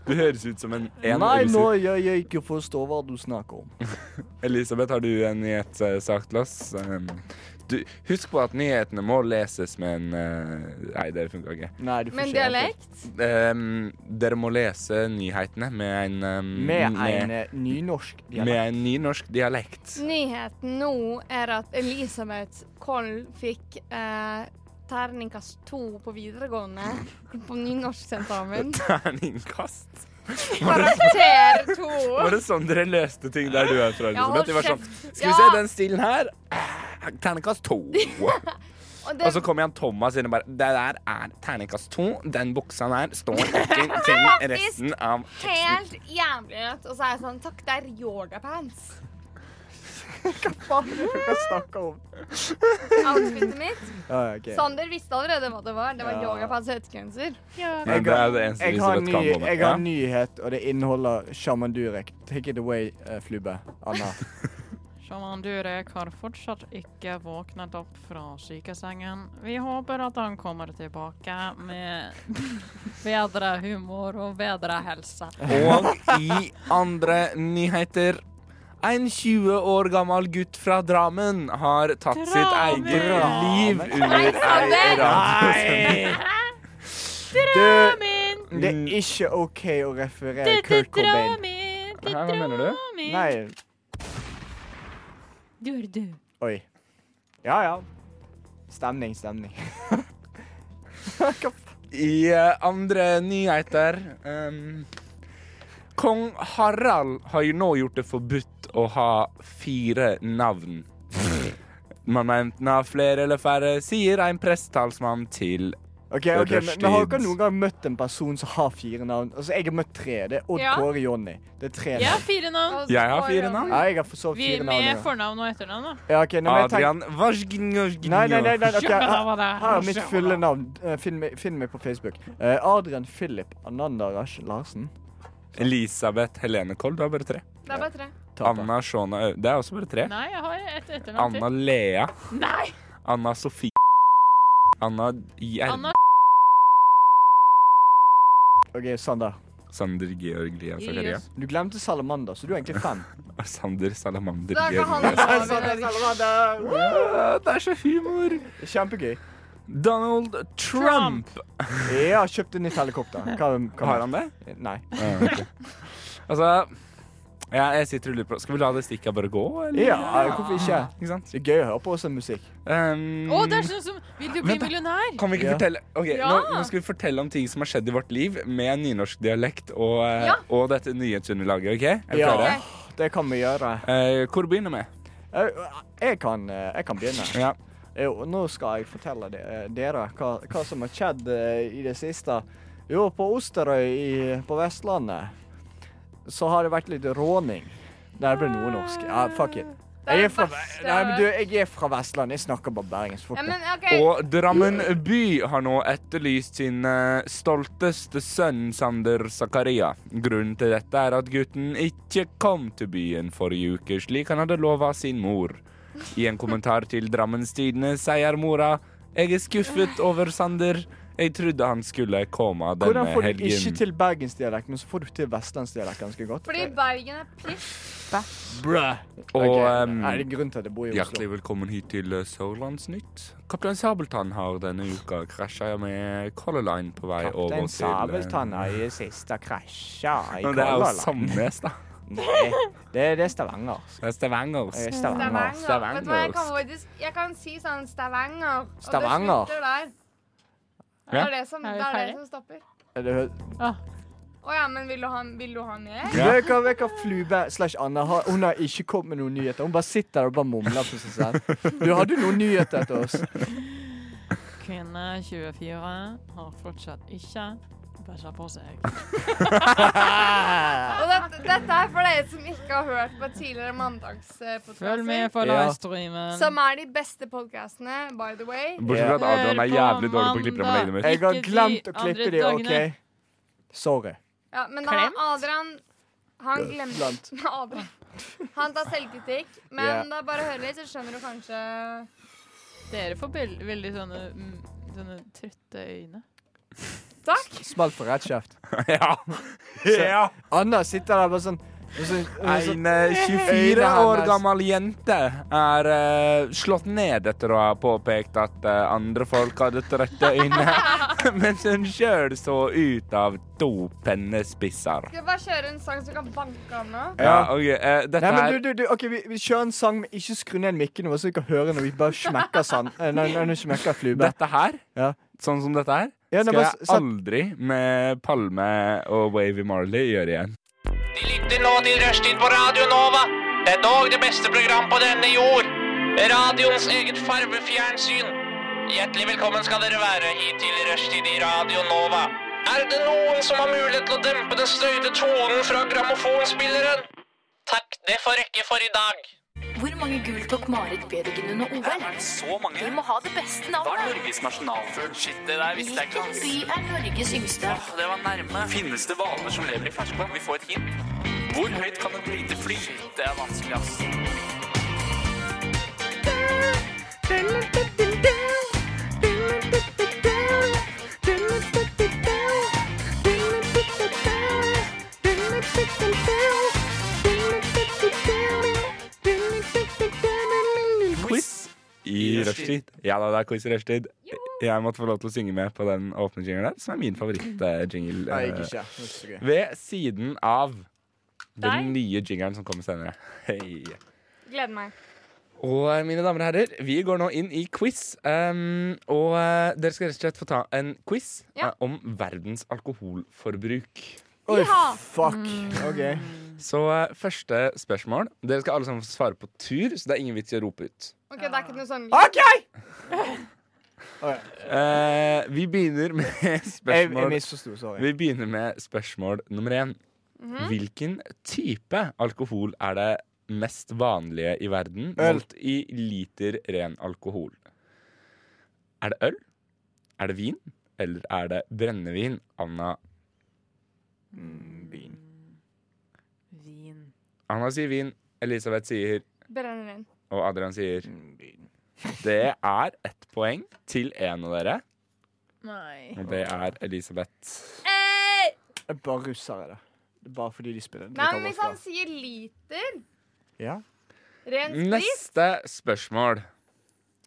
Du høres ut som en, en Nei, nå russer. jeg, jeg ikke forstår hva du snakker om. Elisabeth, har du en nyhetssak til oss? Um, Du, husk på at nyhetene må leses med en eh, Nei, det funka ikke. Nei, du får Men ikke helt det. dialekt? Um, dere må lese nyhetene med en um, Med en med, eh, nynorsk med dialekt. en nynorsk dialekt. [laughs] Nyheten nå er at Elisabeth Koll fikk eh, terningkast to på videregående på [laughs] nynorsksentamen. Terningkast. Karakter to. Var det sånn dere løste ting der du er fra, Ja, hold Elisabeth? Det var sånn, kjeft. Skal vi se Ja. den stilen her. Ah, Terningkast to. [laughs] Og det, Og så kommer Jan Thomas inn og bare Det der er terningkast to. Den buksa der står ikke til resten av helt jævlig nødt. Og så er jeg sånn Takk, det er yogapants. Hva faen er det du snakker om? Outfitet [laughs] mitt. Ja, ja, ok. Sander visste allerede hva det var. Det var Ja. yogapants og hettegenser. Men det er det eneste Jeg har, en Elisabeth ny, kan gå med. jeg har Ja. en nyhet, og det inneholder Shaman Durek. Take it away, eh, Flubbe. [laughs] Anna. Sjaman Durek har fortsatt ikke våknet opp fra sykesengen. Vi håper at han kommer tilbake med [laughs] bedre humor og bedre helse. Og i andre nyheter En 20 år gammel gutt fra Drammen har tatt sitt Drammen! eget liv under ei Sander! radiosending. Du, Min, [laughs] det er ikke OK å referere det Kurt drar Cobain. min, Hæ, hva mener du? min. Nei, Du er død. oi. Ja, ja. Stemning, stemning. I eh, andre nyheter ehm, Kong Harald har jo nå gjort det forbudt å ha fire [laughs] navn. Man enten har flere eller færre, sier en prestetalsmann til Ok, ok, men, men Har dere Rushtid. noen gang møtt en person som har fire navn? Altså, Jeg har møtt tre. Det er Odd Ja. Kåre Jonny. Det er tre Jeg navn. har fire navn. Jeg har fire navn. Ja, jeg har for så vidt Vi, fire navn. jeg med også. fornavn og etternavn, da. Ja, ok, nå må jeg tenke... Adrian Varsgnjovsgnjov. Nei, nei, nei. nei ok, Sjabba her- dabba da. Her er mitt Sjabba fulle da. navn. Eh, Finn meg, finn meg på Facebook. Eh, Adrian Philip Ananda Rash Larsen. Elisabeth Helene Kold, du har bare tre. Det er bare tre. Taper. Anna Shona Ø- Det er også bare tre. Nei, jeg har et etternavn Anna til. Lea. Nei! Anna Sofie. Anna Gjer... Anna Ok, Sander. Sander Georg Lian Zakaria. Julius. Du glemte Salamander, så du er egentlig fem. Og Sander Salamander Da kan han Georg Lian. ta [laughs] over. Ah, Det er så humor! Kjempegøy. Donald Trump. Jeg har kjøpt et nytt helikopter. Hva, hva Har han det? Nei. Ah, ok. [laughs] Altså ja, jeg sitter og lurer på Skal vi la det stikket bare gå, eller? Ja, eh, hvorfor ikke? Ikke sant? Det er gøy å høre på også musikk. Um, Å, det er sånn som Vil du bli Vent da. millionær? Kan vi ikke Ja. fortelle Ok, nå, Ja. nå skal vi fortelle om ting som har skjedd i vårt liv med en nynorsk dialekt og, eh, Ja. og dette nyhetsunderlaget. ok? Er vi Ja. klare? Det kan vi gjøre. Eh, hvor begynner vi? Jeg, jeg, kan, eh, jeg kan begynne. Ja. Jo, nå skal jeg fortelle de, eh, dere hva, hva som har skjedd eh, i det siste. Jo, på Osterøy i, på Vestlandet så har det vært litt råning. Nei, det ble noe norsk. Ja, fuck it. Jeg er fra, nei, men du, jeg er fra Vestlandet. Jeg snakker bare bergensk. Ja, men OK. Og Drammen by har nå etterlyst sin eh, stolteste sønn Sander Zakaria. Grunnen til dette er at gutten ikke kom til byen forrige uke, slik han hadde lova sin mor. I en kommentar til Drammens Tidende sier mora Jeg er skuffet over Sander. Jeg trodde han skulle komme denne Hvordan får du eh, helgen. ikke til bergensdialekt, men så får du til vestlandsdialekt ganske godt? Eh, Fordi Bergen er piss. Og Ok, em, Er det grunnen til at jeg bor i Oslo? Hjertelig velkommen hit til eh, Sørlandsnytt. Kaptein Sabeltann har denne uka krasja med Color Line på vei over Kaptein til eh, Sabeltann har [laughs] i siste krasja i Men det er jo Color Line. Sandnes, da. Nei, det, det er Stavanger. Det er Stavanger. Det er Stavanger. Stavanger. Stavanger. Vet du hva, jeg kan faktisk Jeg kan si sånn Stavanger. og det Stavanger. slutter der. Det Ja. er det som, Er vi det, er det ferdig? som stopper. Er det hø- Å ja, men vil du ha, vil du ha mer? Ja. Veka, veka, flube slash Anna har, Hun har ikke kommet med noen nyheter. Hun bare sitter der og bare mumler for seg selv. sånn. Du hadde noen nyheter til oss. Kvinne 24 har fortsatt ikke bæsja på seg. Og dette, dette er for dere som ikke har hørt på tidligere Følg med mandagspodkaster. på Ja. livestreamen. Som er de beste podkastene, by the way. Bortsett fra at Adrian er Hør på jævlig dårlig på å klippe det med mandag. legene mine. Jeg har Ikke de glemt å andre klippe de, dagene. OK? Sorry. Ja, men da Klemt? Adrian Han glemte Blant. [laughs] Adrian. Han tar selvkritikk, men Ja. da bare hører litt, så skjønner du kanskje Dere får veld, veldig sånne, mm, sånne trøtte øyne. Takk. Smalt for rett kjeft. [laughs] Ja. ja. Anna sitter der bare sånn og så- og så- En eh, 24 Øyne år hennes. gammel jente er eh, slått ned etter å ha påpekt at eh, andre folk hadde trøtte øyne, [laughs] mens hun sjøl så ut av to pennespisser. Skal vi bare kjøre en sang som kan banke an nå? Ja, ok. eh, dette Nei, men her du, du, du, ok, vi, vi kjører en sang, men ikke skru ned mikken nå, så vi kan høre når vi bare smekker sand. eh, Når, når vi smekker flube. Dette her, Ja. sånn som dette her, Ja, nei, skal bare jeg sett- aldri med Palme og Wavy Marley gjøre igjen. De lytter nå til Rushtid på Radio Nova. Det er dog det beste program på denne jord. Radioens eget farvefjernsyn. Hjertelig velkommen skal dere være hit til Rushtid i Radio Nova. Er det noen som har mulighet til å dempe den støyte tonen fra grammofonspilleren? Takk, det får rekke for i dag. Hvor mange gull tok Marit Bjørgen under OL? Så mange. Vi må ha det beste navnet. Norges nasjonalfugl? Shit, det der Hvilken by er Norges yngste? Det var nærme. Finnes det hvaler som lever i ferskvann? Vi får et hint. Hvor høyt kan et lite fly? Det er vanskelig, ass. Quiz i rushtid. Ja da, det er quiz i rushtid. Jeg måtte få lov til å synge med på den åpne jingelen der, som er min Nei, jeg gikk ikke. favorittjingle. Det er ikke. så gøy. eh, Ved siden av Deg? den nye jingeren som kommer senere. Hei. Gleder meg. Og eh, mine damer og herrer, vi går nå inn i quiz. ehm, og eh, dere skal rett og slett få ta en quiz Ja. eh, om verdens alkoholforbruk. Oi, Ja. Mm. fuck. OK. Så eh, første spørsmål. Dere skal alle sammen få svare på tur, så det er ingen vits i å rope ut. Ok, Det er ikke noe sånn OK! Eh, vi begynner med [laughs] Jeg, jeg spørsmål misforsto, sorry. Vi begynner med spørsmål nummer én. Hvilken type alkohol er det mest vanlige i verden Øl. målt i liter ren alkohol? Er det øl? Er det vin? Eller er det brennevin? Anna, Vin. Anna sier vin, Elisabeth sier, brennevin. og Adrian sier [laughs] Det er ett poeng til en av dere, Nei. og det er Elisabeth. Det er bare russere, det. Det er bare fordi de spiller. Nei, men drikker hvis han vodka. sier liter Ja. Ren sprit? Neste spørsmål.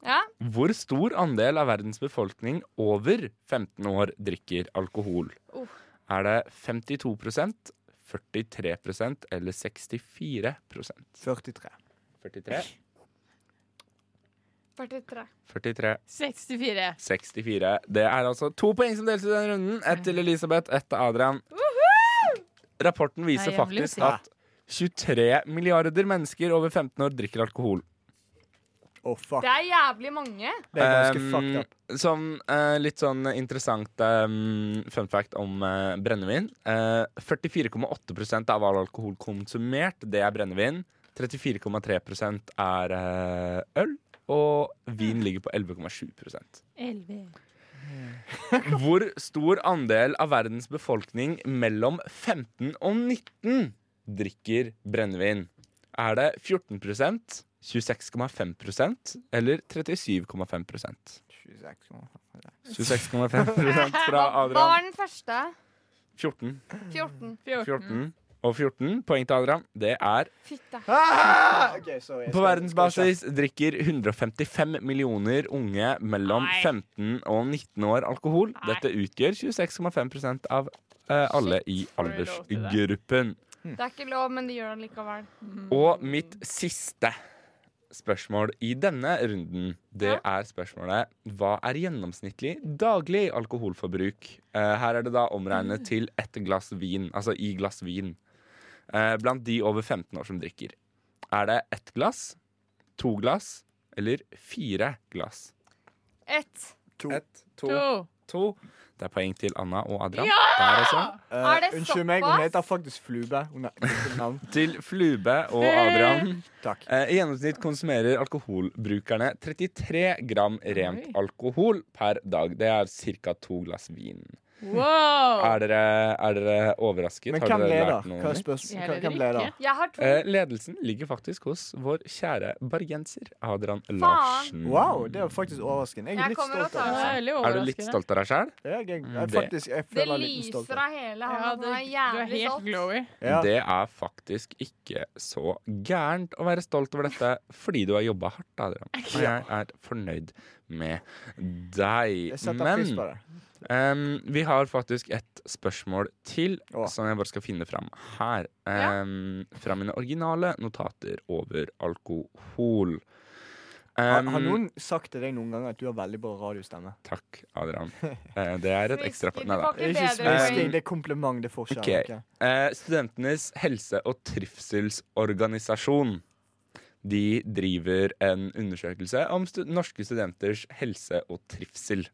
Ja. Hvor stor andel av verdens befolkning over 15 år drikker alkohol? Oh. Er det 52 43 eller 64 43. 43, 43. 43, 64. 64. Det er altså to poeng som deles i denne runden. Ett til Elisabeth, ett til Adrian. Rapporten viser Det er jævlig faktisk å at 23 milliarder mennesker over 15 år drikker alkohol. Å, fuck. Det er jævlig mange. Det er ganske Um, fucked up. Sånn eh, litt sånn interessant um, fun fact om eh, brennevin. Eh, 44,8 av all alkohol konsumert, det er brennevin. 34,3 er eh, øl. Og vin ligger på 11,7 11. [laughs] Hvor stor andel av verdens befolkning mellom 15 og 19 drikker brennevin? Er det 14 26,5 eller 37,5 [laughs] 26,5 fra Hva Adrian. var den første? 14. 14. 14. Og 14 poeng til Adrian. Det er Fytte. Ah! Ok, sorry, jeg skal- På skal verdensbasis drikker 155 millioner unge mellom 15 og 19 år alkohol. Dette utgjør 26,5 av eh, alle i får vi lov til det? aldersgruppen. Det er ikke lov, men de gjør det likevel. Og mitt siste spørsmål i denne runden, det er spørsmålet Hva er gjennomsnittlig daglig alkoholforbruk? Eh, her er det da omregnet til ett glass vin, altså i glass vin. Eh, blant de over 15 år som drikker. Er det ett glass, to glass eller fire glass? Ett. To. Ett, to, To. to. Det er poeng til Anna og Adrian. Der også. Eh, Er det unnskyld meg, hun såpass? heter faktisk Flube. Hun har ikke navn. Til Flube og Adrian. Takk. Eh, I gjennomsnitt konsumerer alkoholbrukerne 33 gram rent Oi. alkohol per dag. Det er ca. to glass vin. Wow! Er dere, er dere overrasket? Men Har hvem dere leder? lært noe Hva er nytt? spørsmålet? Jeg Hvem- Hvem lever leder? ikke. Jeg har to. Eh, ledelsen ligger faktisk hos vår kjære bergenser Adrian Larsen. Wow, det er faktisk overraskende. Jeg Jeg er litt kommer og stolt av Det det. er veldig Er du litt overraskende. stolt av deg sjæl? Jeg, jeg, jeg, Det- faktisk, jeg Det føler liten lyser stolthet. av hele Ja, han. Han er det, du er jævlig helt stolt. glowy. Ja. Det er faktisk ikke så gærent å være stolt over dette fordi du har jobba hardt, Adrian. Og jeg er fornøyd med Jeg deg. setter Men pris på det. em, vi har faktisk et spørsmål til Å. som jeg bare skal finne fram her. Em, fra mine originale notater over alkohol. Har, Em, har noen sagt til deg noen ganger at du har veldig bra radiostemme? Takk, Adrian. Eh, det er et ekstra Whisky, Nei da. du Det er får ikke ikke bedre smisking, poeng. det er kompliment. Det er forskjell. Ok. ok? Eh, studentenes helse- og trivselsorganisasjon De driver en undersøkelse om stu norske studenters helse og trivsel.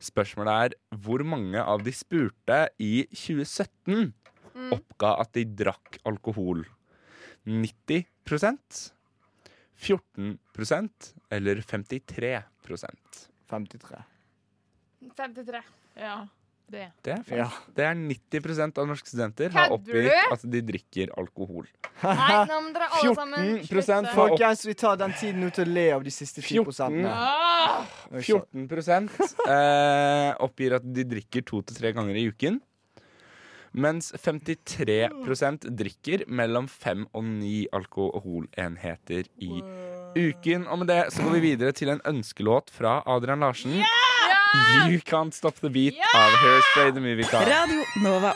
Spørsmålet er hvor mange av de spurte i 2017 Mm. oppga at de drakk alkohol. 90 14 eller 53 53. 53. Ja, det. Det er, Ja. fakt- det er 90 av norske studenter har Kødder du? oppgitt at de drikker alkohol. Nei, nå må dere alle sammen 14% slutte. for- Folkens, vi tar den tiden nå til å le av de siste 10 prosentene. Ah! Oi, så- 14 eh, oppgir at de drikker to til tre ganger i uken. Mens 53 drikker mellom fem og ni alkoholenheter i uken. Og med det så går vi videre til en ønskelåt fra Adrian Larsen. You Can't Stop The Beat av Hairspray The Movie Car. Radio Nova.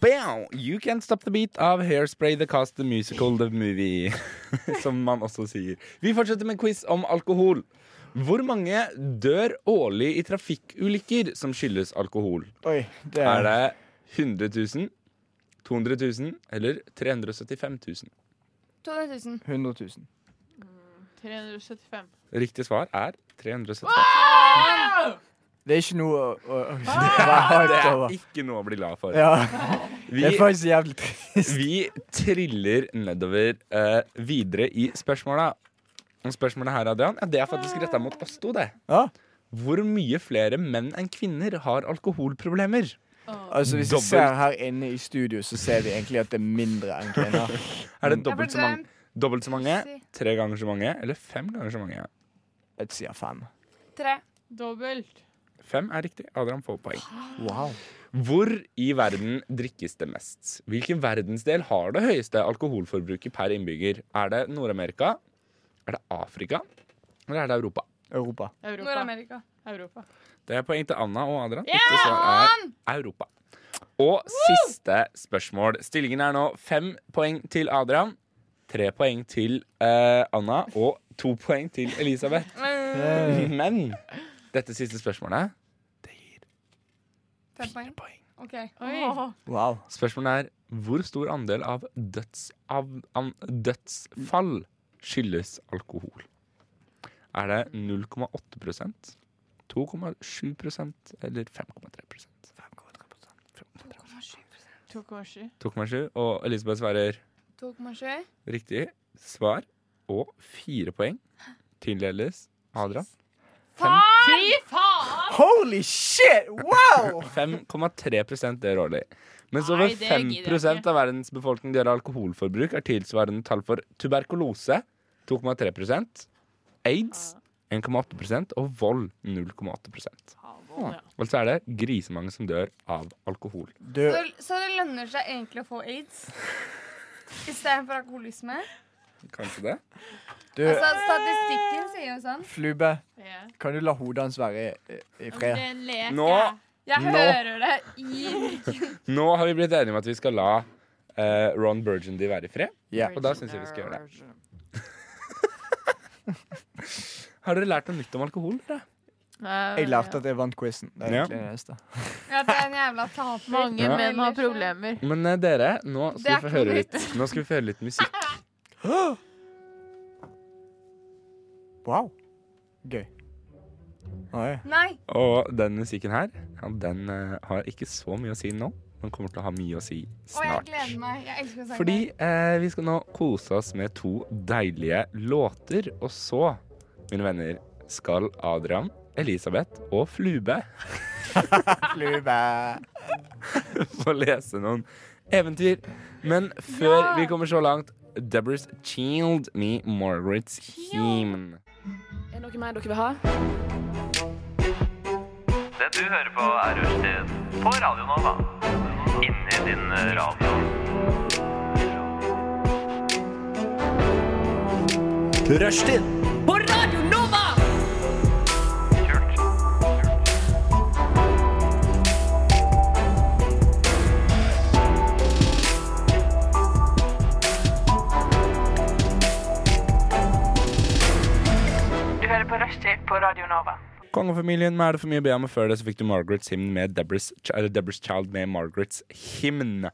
Bow! You Can't Stop The Beat av Hairspray The Cast The Musical The Movie. Som man også sier. Vi fortsetter med en quiz om alkohol. Hvor mange dør årlig i trafikkulykker som skyldes alkohol? Oi, det Er er det 100 000, 200 000 eller 375 000? 200 000. 100 000. 375. Riktig svar er 375 Det er ikke noe å, å, å [laughs] være hyped Det over. er ikke noe å bli glad for. Ja, det er Vi faktisk jævlig trist. Vi triller nedover eh, videre i spørsmåla. Og spørsmålet her, Adrian, ja, det er faktisk retta mot oss to, det. Ja. Hvor mye flere menn enn kvinner har alkoholproblemer? Altså, hvis vi Dobbelt. ser her inne i studio, så ser vi egentlig at det er mindre enn kvinner. [laughs] Er det Jeg dobbelt så burde mange? Dobbelt så mange, si. tre ganger så mange eller fem ganger så mange? Jeg sier fem. Tre. Dobbelt. Fem er riktig. Adrian får poeng. Wow. Hvor i verden drikkes det mest? Hvilken verdensdel har det høyeste alkoholforbruket per innbygger? Er det Nord-Amerika? Er det Afrika? Eller er det Europa? Europa. Europa. Nord-Amerika. Europa. Det er poeng til Anna og Adrian. Riktig svar er Europa. Og siste spørsmål. Stillingen er nå fem poeng til Adrian, tre poeng til eh, Anna og to poeng til Elisabeth. Eh, Men dette siste spørsmålet Fem poeng. poeng. OK. Oi. Wow. Spørsmålet er hvor stor andel av, døds, av an, dødsfall skyldes alkohol? Er det 0,8 2,7 eller 5,3 2,7. 2,7, og Elisabeth svarer 2,7. riktig svar og fire poeng. Tildeles Adrian. Fy faen! Holy shit! Wow! 5,3 dør årlig. Mens over Nei, det gidder jeg 5 ikke. av verdens befolkning dør av alkoholforbruk, er tilsvarende tall for tuberkulose 2,3 aids 1,8 og vold 0,8 Ja. Altså er det grisemange som dør av alkohol. Du, Så, så det lønner seg egentlig å få aids istedenfor alkoholisme? Kanskje det? du Altså, statistikken sier jo sånn. Flube, Ja. kan du la hodet hans være i, i Det er fred? en lek. Nå, ja. Jeg Nå. hører det i nå har vi blitt enige om at vi skal la eh, Ron Burgundy være i fred. Ja. Og da syns jeg vi skal gjøre det. [laughs] Har dere lært noe nytt om alkohol? Dere? Jeg lærte at jeg vant quizen. Det er Ja. egentlig det eneste. at det er en jævla taper. Mange Ja. menn har problemer. Men eh, dere, nå Det skal, vi få er ikke noe høre litt, nå skal vi få høre litt musikk. Wow. Gøy. Oi. Nei. Og den musikken her, ja, den eh, har ikke så mye å si nå. Den kommer til å ha mye å si Og jeg snart. gleder meg. Jeg elsker sangen. Fordi eh, vi skal nå kose oss med to deilige låter. Og så, mine venner, skal Adrian Elisabeth og Flube [laughs] Flube. få lese noen eventyr. Men før vi kommer så langt, Deborah's Child med Margaret's Hymn. Er det noe mer dere vil ha? Det du hører på er Rushtid på Radio Nova. Inni din eh, radio. Rushtid på Radio Nova! Du hører på Rushtid på Radio Nova. Kongefamilien med Er det for mye å be om? Og før det så fikk du Margaret's Hymn med Deborah's, Ch- eller Deborah's Child med Margaret's Hymn.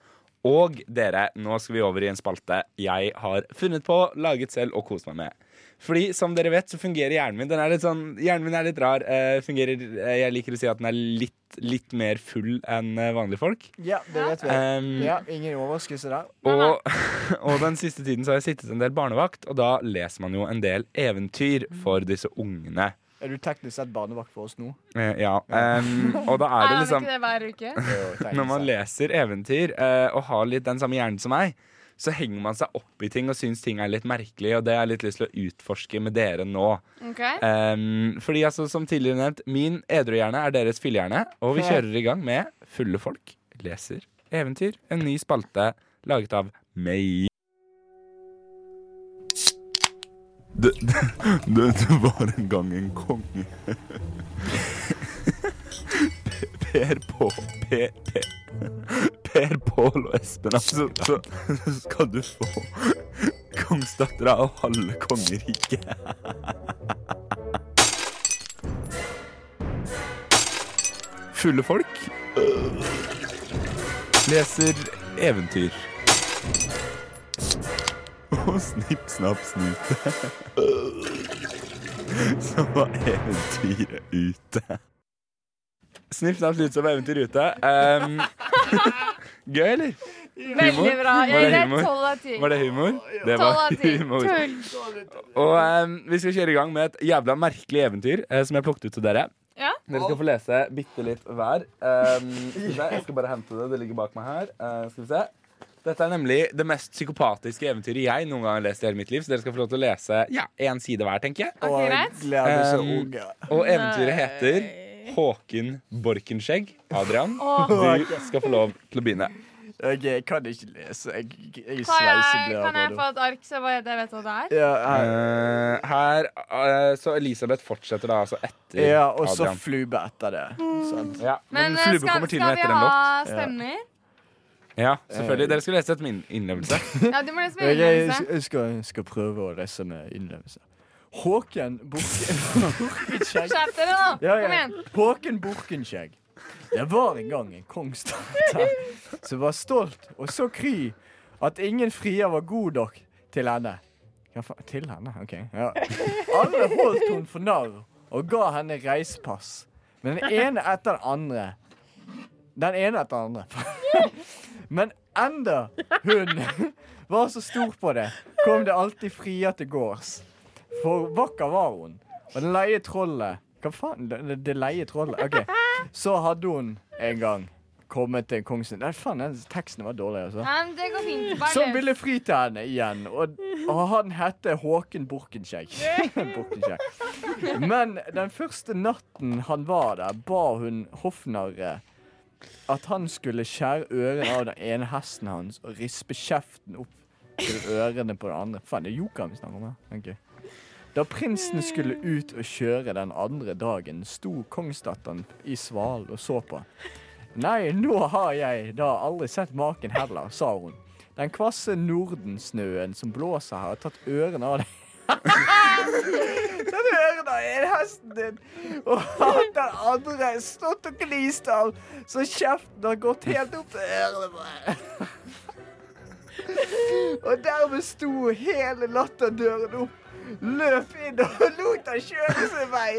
Og dere, nå skal vi over i en spalte jeg har funnet på, laget selv og kost meg med. Fordi som dere vet, så fungerer hjernen min. Den er litt sånn, hjernen min er litt rar. eh, fungerer, eh, jeg liker å si at den er litt, litt mer full enn eh, vanlige folk. Ja, det vet vi. Um, Ja, ingen overraskelse der. Og, [laughs] og den siste tiden så har jeg sittet en del barnevakt, og da leser man jo en del eventyr for disse ungene. Er du teknisk sett barnevakt for oss [laughs] nå? Eh, Ja, em, og da er Er det han liksom ikke det hver uke? Når man leser eventyr eh, og har litt den samme hjernen som meg, så henger man seg opp i ting og syns ting er litt merkelig, og det har jeg litt lyst til å utforske med dere nå. Ok. Em, fordi altså, som tidligere nevnt, min edruhjerne er deres fyllehjerne, og vi kjører i gang med Fulle folk leser eventyr. En ny spalte laget av meg. Det, var en gang en konge. Per på Per, per Pål og Espen, altså, så, så skal du få kongsdattera og halve kongeriket. Fulle folk leser eventyr. Og snipp, snapp, snute. [laughs] Så var eventyret ute. Snipp, snapp, snute, så var eventyret ute. Ehm, [laughs] gøy, eller? Veldig bra. Var det Jeg gir deg humor? tolv av ti. Var det humor? Det Tolv var av ti. humor. Tull. Og ehm, vi skal kjøre i gang med et jævla merkelig eventyr eh, som jeg plukket ut til dere. Ja. Dere skal få lese bitte litt hver. Ehm, skal vi se, jeg skal bare hente det. Det ligger bak meg her. Eh, skal vi se. Dette er nemlig det mest psykopatiske eventyret jeg noen gang har lest i hele mitt liv. Så dere skal få lov til å lese ja, én side hver, tenker jeg. Og greit. gleder seg Um, unge. Og eventyret heter Håken Borkenskjegg. Adrian, du skal få lov til å begynne. Ok, jeg kan ikke lese. Jeg, jeg Kan sveiser jeg, blød kan jeg av få et ark så jeg bare vet hva det er? Ja, her. Eh, her eh, Så Elisabeth fortsetter da altså etter ja, og så Adrian. flube etter det. Mm, Sant? Ja, men, Men eh, Flube skal, kommer til skal med vi etter en ha låt. [laughs] Eh. stemmer? Ja, selvfølgelig. Dere skal lese etter min innlevelse. [laughs] Ja, du må liksom lese med Jeg, jeg, innlevelse. jeg skal, skal prøve å lese med innlevelse. Håken [laughs] Borkenskjegg Skjerp dere nå! Ja, ja. Kom igjen. Håken Borkenskjegg. Det var en gang en kongsdatter som var stolt og så kry at ingen frier var god nok til henne. Ja, fa til henne? OK. Ja. Alle holdt hun for narr og ga henne reisepass. Men den ene etter den andre Den ene etter den andre. [laughs] Men enda hun [laughs] var så stor på det, kom det alltid frier til gårds. For vakker var hun. Og det leie trollet Hva faen? Det, det- det leie trollet? OK. Så hadde hun en gang kommet til kongen Nei, faen, den teksten var dårlig, altså. Nei, men det går fint. Bare Som løs. ville fri til henne igjen, og, og han hette Håken Borkenskjegg. [laughs] Borkenskjegg. Men den første natten han var der, ba hun hoffnarre at han skulle skjære ørene av den ene hesten hans og rispe kjeften opp til ørene på den andre. Faen, det er jokeren vi snakker om her. Ok. Da prinsen skulle ut og kjøre den andre dagen, sto kongsdatteren i svalen og så på. Nei, nå har jeg da aldri sett maken heller, sa hun. Den kvasse nordensnøen som blåser her, har tatt ørene av deg. [laughs] tatt ørene av en hesten din! Og han den andre stått og glist av, så kjeften har gått helt opp til ørene på deg. [laughs] Og dermed sto hele latterdøren opp, løp inn og lot han kjøre sin vei.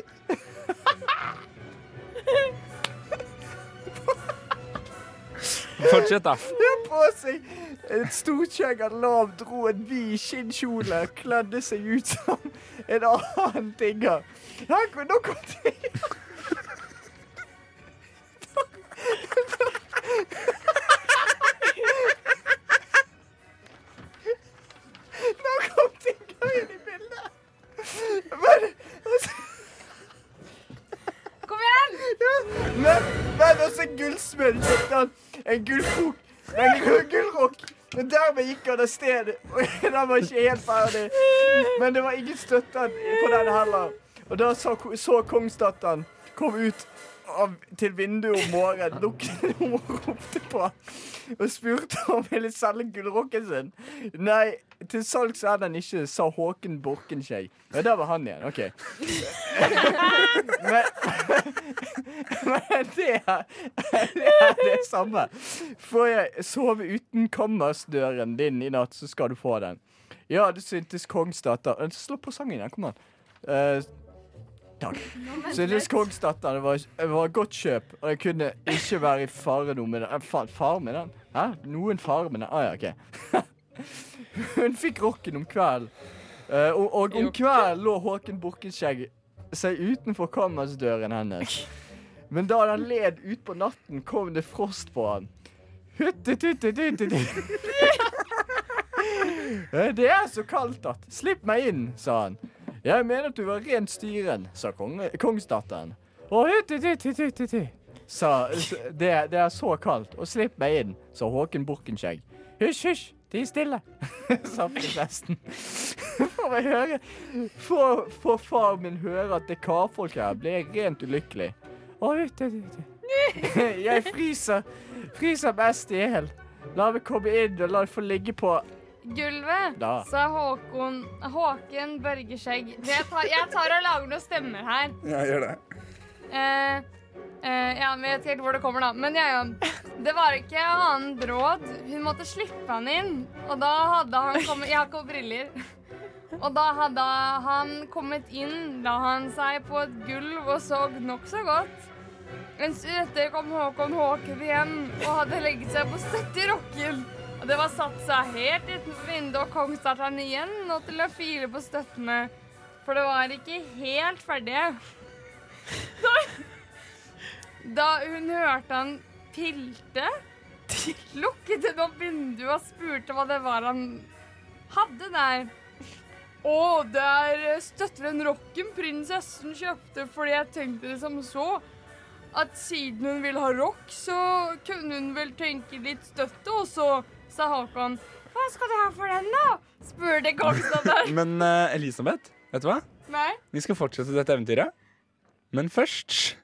Fortsett, da. De har på seg et storskjegg av lav, dro en vid skinnkjole, kledde seg ut som en annen tigger. Her kom nå kom de Nå kom tigger inn i bildet. Men, Kom igjen! men, men også gullsmed kjøpte han en gullkrok. Nei, en gull- gullrokk. Men dermed gikk han av sted. Og [laughs] den var ikke helt ferdig. Men det var ingen støtte på den heller. Og da så, så kongsdatteren kom ut av, til vinduet om morgenen, [laughs] lukket noe og ropte på og spurte om han ville selge gullrokken sin. Nei, til salgs er den ikke, sa Håken Borkenskjegg. Ja, der var han igjen. OK. Men, men det, er, det er det samme. Får jeg sove uten kammersdøren din i natt, så skal du få den. Ja, det syntes kongsdatter Slå på sangen igjen, kom an. Eh, takk. Syntes kongsdatter det var, det var godt kjøp, og jeg kunne ikke være i fare noe med den. Eh, fa- Far med den? Hæ? Noen fare med den? Ah, ja, OK. [laughs] Hun fikk rocken om kvelden. Eh, og, og om kvelden lå Håken Borkenskjegg seg utenfor kammersdøren hennes. Men da den led utpå natten, kom det frost på han. Huttetuttetuttetut. Det er så kaldt at Slipp meg inn, sa han. Jeg mener at du var rent styren, sa konge, kongsdatteren. Og huttetuttetuttetu, sa s- det, det er så kaldt, og slipp meg inn, sa Håken Borkenskjegg. Hysj, hysj, ti stille, sa prinsessen. Får jeg høre Får, får far min høre at det er karfolk her, blir jeg rent ulykkelig. Å, ut, ut, ut, ut. [laughs] Jeg fryser. Fryser best i hjel. La meg komme inn, og la det få ligge på Gulvet, Da. sa Håkon Håken Børgeskjegg. Det Jeg tar, jeg tar og lager noen stemmer her. Ja, gjør det. Eh, eh, ja, men jeg vet ikke helt hvor det kommer, da. Men ja, ja. Det var ikke annet råd. Hun måtte slippe han inn. Og da hadde han kommet Jeg har ikke briller. Og da hadde han kommet inn, la han seg på et gulv og så nokså godt. Mens etter kom Håkon Håken hjem og hadde legget seg på støtt i rokken. Og det var satt seg helt utenfor vinduet, og kongsdatteren igjen nå til å file på støttene. For det var ikke helt ferdige. [laughs] Da hun hørte han pilte, lukket hun opp vinduet og spurte hva det var han hadde der. Å, der støtter den rocken prinsessen kjøpte, fordi jeg tenkte det som så. At siden hun ville ha rock, så kunne hun vel tenke litt støtte, og så sa Håkon Hva skal du ha for den, da? spurte kongsdatteren. Men eh, Elisabeth, vet du hva? [laughs] Nei. Vi skal fortsette dette eventyret. Men først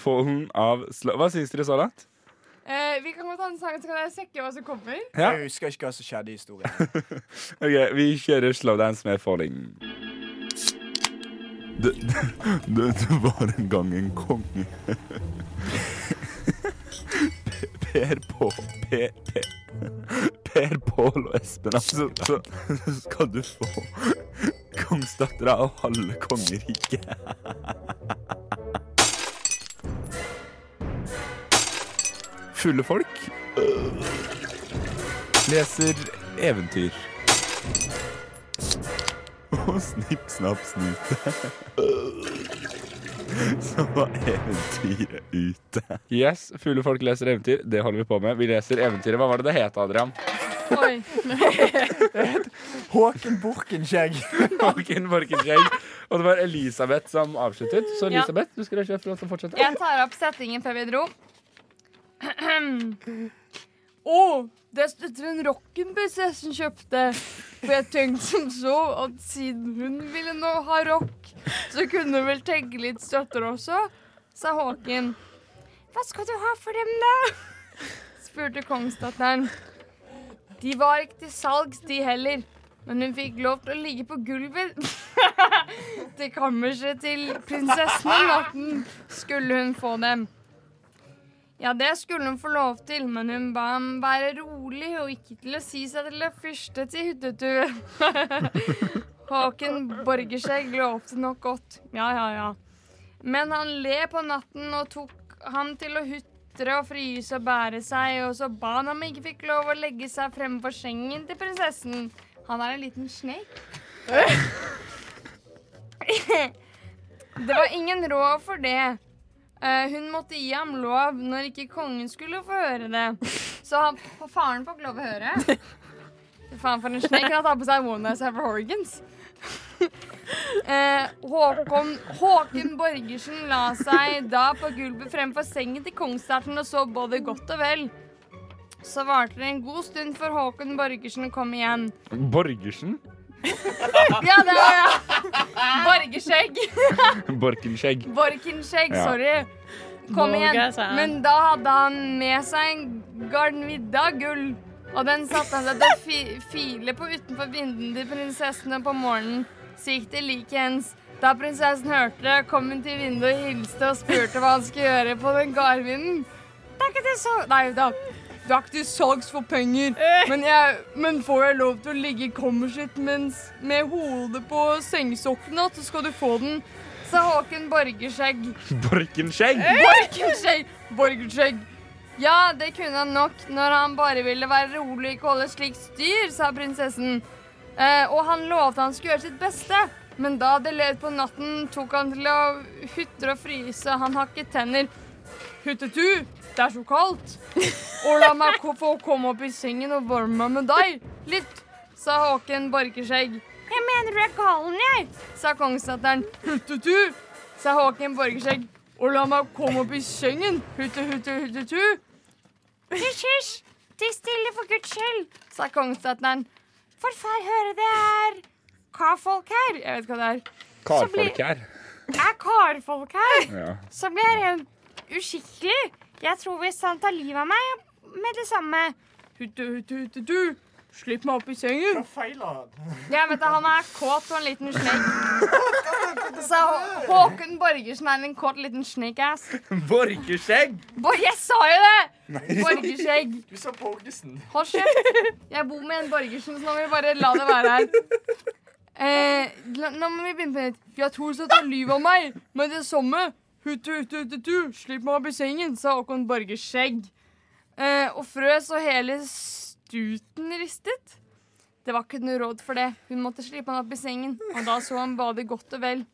får hun av slå... Hva syns dere så langt? Eh, vi kan godt ha en sang, så kan jeg sjekke hva som kommer. Ja. Jeg husker ikke hva som skjedde i [laughs] historien. Ok, Vi kjører slowdance med falling. Det, det, det var en gang en konge. Per på Per, per. per Pål og Espen, altså, så, så skal du få kongsdattera av halve kongeriket. Fulle folk leser eventyr. Og snipp, snapp, snute. [laughs] Så var eventyret ute. Yes, fulle folk leser eventyr. Det holder vi på med. Vi leser eventyret. Hva var det det het, [laughs] Adrian? Oi. Håken [laughs] Borkenskjegg. Borken, Borkenskjegg. Og det var Elisabeth som avsluttet. Så Ja. Elisabeth, du skulle ikke få lov til å fortsette. Jeg tar opp settingen før vi dro. [clears throat] Å, Oh, det støtter en rocken prinsessen kjøpte. For jeg tenkte som så at siden hun ville nå ha rock, så kunne hun vel tenke litt støtter også, sa Håken. Hva skal du ha for dem, da? spurte kongsdatteren. De var ikke til salgs, de heller. Men hun fikk lov til å ligge på gulvet [laughs] til kammerset til prinsessen om natten skulle hun få dem. Ja, det skulle hun få lov til, men hun ba ham være rolig og ikke til å si seg til å fyrste til hyttetue. [laughs] Håken Borgerskjegg lovte nok godt. Ja, ja, ja. Men han le på natten og tok ham til å hytte nektere å fryse og bære seg, og så ba han ham ikke fikk lov å legge seg fremfor sengen til prinsessen. Han er en liten snek. [laughs] det var ingen råd for det. Eh, hun måtte gi ham lov når ikke kongen skulle få høre det. Så han, faren får ikke lov å høre. Fy Faen, for en snek. Han tar på seg One Night Stand for Horgans. Eh, Håkon, Håken Borgersen la seg da på gulvet fremfor sengen til kongserten og så både godt og vel. Så varte det en god stund før Håkon Borgersen kom igjen. Borgersen? Ja, det var ja. Borgerskjegg. Borkenskjegg. Borkenskjegg, Ja. sorry. Kom igjen. Borgersen. Men da hadde han med seg en garnvidde av gull. Og den satte han seg til å fi file på utenfor vinduene til prinsessen, og på morgenen så gikk det likeens. Da prinsessen hørte det, kom hun til vinduet og hilste og spurte hva han skulle gjøre på den garnvinden. Det er ikke det så... Nei, da... Det er ikke til salgs for penger, men, jeg, men får jeg lov til å ligge i kommersitt mens med hodet på sengesokkene, så skal du få den, sa Håken Borgerskjegg. Borkenskjegg? Eh, Borgerskjegg! Borgerskjegg. Ja, det kunne han nok når han bare ville være rolig og ikke holde slikt styr, sa prinsessen. Eh, og han lovte han skulle gjøre sitt beste, men da det led på natten, tok han til å hutre og fryse. Han hakket tenner. Huttetu, det er så kaldt. Og la meg ko- få komme opp i sengen og varme meg med deg litt, sa Håken Borgerskjegg. Jeg mener du er galen, jeg, sa kongsdatteren. Huttetu, sa Håken Borgerskjegg. Og la meg komme opp i sengen. Hutte, hutte, huttetu. Hysj, hysj. Tiss stille, for guds skyld, sa kongsdatteren. For far høre det er karfolk her. Jeg vet ikke hva det er. Karfolk her. Det er karfolk her. Ja. Så blir jeg rent uskikkelig. Jeg tror hvis han tar livet av meg med det samme. Hutte, hutte, huttetu. Slipp meg opp i sengen. Hva feiler han? Jeg vet det, han er kåt og en liten snake. Så Hå- Håkon Borgersen er en kåt liten snake-ass. Borkerskjegg? Bo- Jeg sa jo det! Nei. Borgerskjegg. Du sa Borgesen. Hold kjeft. Jeg bor med en Borgersen, så nå må vi bare la det være her. Eh, la- nå må vi begynne på nytt. Jeg tror så tar livet av meg med det samme. Hutu, hutu, hutu, tu. Slipp meg opp i sengen, sa Håkon Borgerskjegg. Eh, og frøs og hele stuten ristet. Det var ikke noe råd for det. Hun måtte slippe han opp i sengen, og da så han bade godt og vel.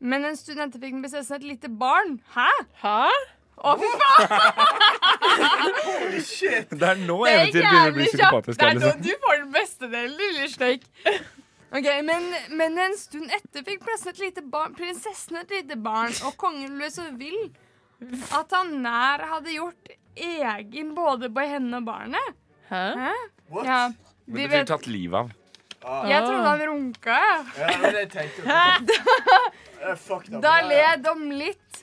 Men en stund etter fikk prinsessen et lite barn. Hæ? Hæ? Å, fy faen! Det er nå Det er eventyret begynner å bli jævlig kjapt. psykopatisk. Det her, er da liksom. du får den beste delen, lille sneik. Ok, men, men en stund etter fikk prinsessen et lite barn, prinsessen et lite barn, og kongen ble så vill at han nær hadde gjort egen både på henne og barnet. Hæ? What? Ja, Men vi det blir vet, tatt livet av. jeg trodde han runka, Ja, det var det jeg tenkte. Eh, Fuck da. Da led om litt.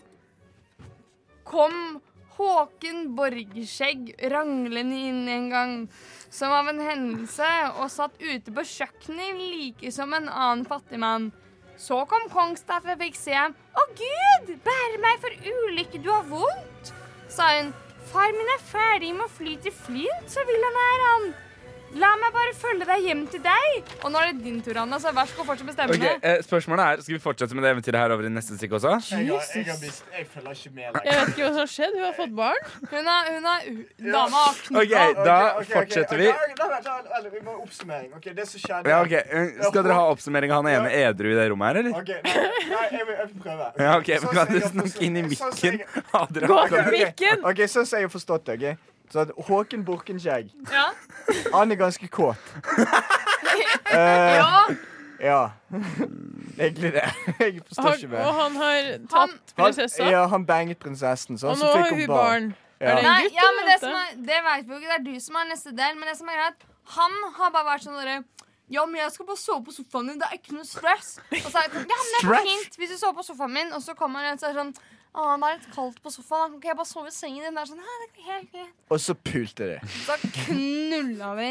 Kom Håken Borgerskjegg ranglende inn en gang, som av en hendelse, og satt ute på kjøkkenet like som en annen fattigmann. Så kom kongsdatteren og fikk se ham. Å gud, bære meg for ulykke, du har vondt, sa hun. Far min er ferdig med å fly til Flint, så vil han her, han. La meg bare følge deg hjem til deg. Og nå er det din tur, Anna, så vær så god, fortsett med Ok, stemmene. eh, spørsmålet er, Skal vi fortsette med det eventyret her over i neste stykke også? Jeg, har, jeg, har mist, jeg følger ikke med lenger. Jeg vet ikke hva som har skjedd. Hun har fått barn. Hun er, hun er Dama har Ok, da fortsetter vi. vi må ha oppsummering. Ok, det som skjedde Ja, ok, eh, Skal dere ha oppsummering av han ene edru i det rommet her, eller? Ok, nei, nei, jeg vil, jeg vil prøve. Ja, ok, Sånn men som Kan du jeg har forstått- snakke inn i sånn som mikken? jeg- Adrian, [laughs] Ok, kan du- ok. Ok, Sånn som jeg har forstått det. ok? Så at Håken Borkenskjegg Ja. Han er ganske kåt. [laughs] Eh, Ja. ja. [laughs] Egentlig det. Jeg forstår ikke Han, mer. og han har tatt prinsessa. Han, ja, han banget prinsessen, så, Og så nå fikk har hun hun barn. barn. Er det en Nei, gutt ja, eller men det, jente? som er, det vet vi jo ikke. Det er du som er neste del. Men det som er greit, han har bare vært sånn derre ja, men jeg skal bare sove på sofaen din. Det er ikke noe stress. Og så er jeg sånn, ja, men det er så Stress? fint hvis du sover på sofaen min, og så kommer han igjen og så er det sånn Å, det er litt kaldt på sofaen. Da kan jeg bare sove i sengen din. Det er sånn, «Hæ, det er helt greit. Og så pulte de. Så knulla vi.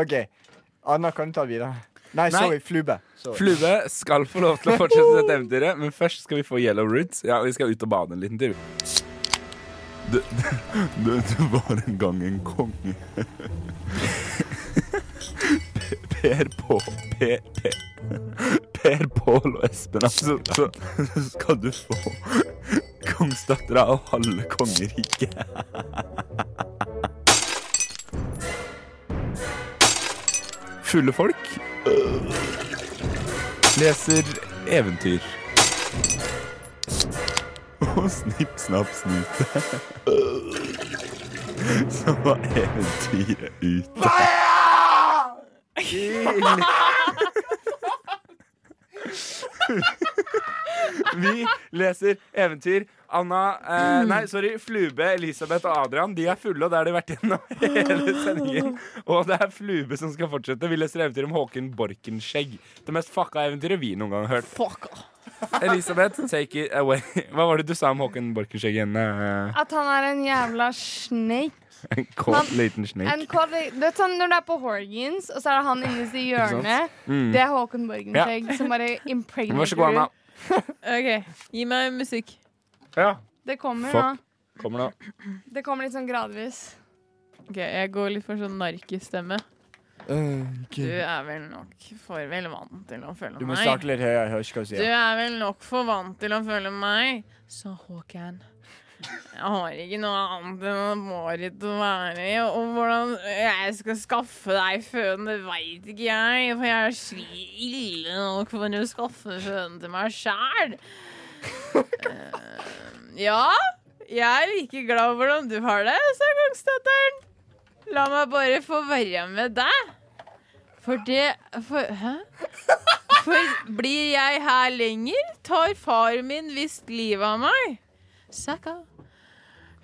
OK. Anna, kan du ta det videre? Nei, Nei. sorry. Flube. Sorry. Flue skal få lov til å fortsette dette eventyret, men først skal vi få Yellow Roots. Ja, vi skal ut og bade en liten tur. Det, var en gang en konge. Per på Per, per Pål og Espen, altså, så, så skal du få Kongsdattera og halve kongeriket. Fulle folk leser eventyr. Og [laughs] snipp, snapp, snute. [laughs] Så var eventyret ute. Vi leser eventyr. Anna eh, Nei, sorry. Flube, Elisabeth og Adrian De er fulle, og det har de vært gjennom [laughs] hele sendingen. Og det er Flube som skal fortsette. Vi leser eventyr om Håkon Borkenskjegg. Det mest fucka eventyret vi noen gang har hørt. Elisabeth, take it away. [laughs] Hva var det du sa om Håkon Borkenskjegg igjen? eh, At han er en jævla snake. En kåt liten En snik. kåt li- Du vet sånn når du er på Horgans, og så er det han innerst i hjørnet. Mm. Det er Håkon Borgenskjegg som bare [laughs] impregnerer Vær så god, Anna. OK, gi meg musikk. Ja, Det kommer Fuck. nå. kommer nå. Det kommer litt sånn gradvis. Ok, Jeg går litt for sånn narkistemme. Eh, Du er vel nok for vel vant til å føle Mm. Du må meg. snakke litt høyere. Jeg hører ikke hva du Du sier. er vel nok for vant til å føle meg, sa Håkan. Jeg har ikke noe annet enn Marit å være i, og hvordan jeg skal skaffe deg føden, det veit ikke jeg, for jeg er sli ille nok for å skaffe føden til meg sjæl. Ja, jeg er like glad for hvordan du har det, sa kongsdatteren. La meg bare få være med deg. For det For Hæ? For blir jeg her lenger, tar far min visst livet av meg. Sakka.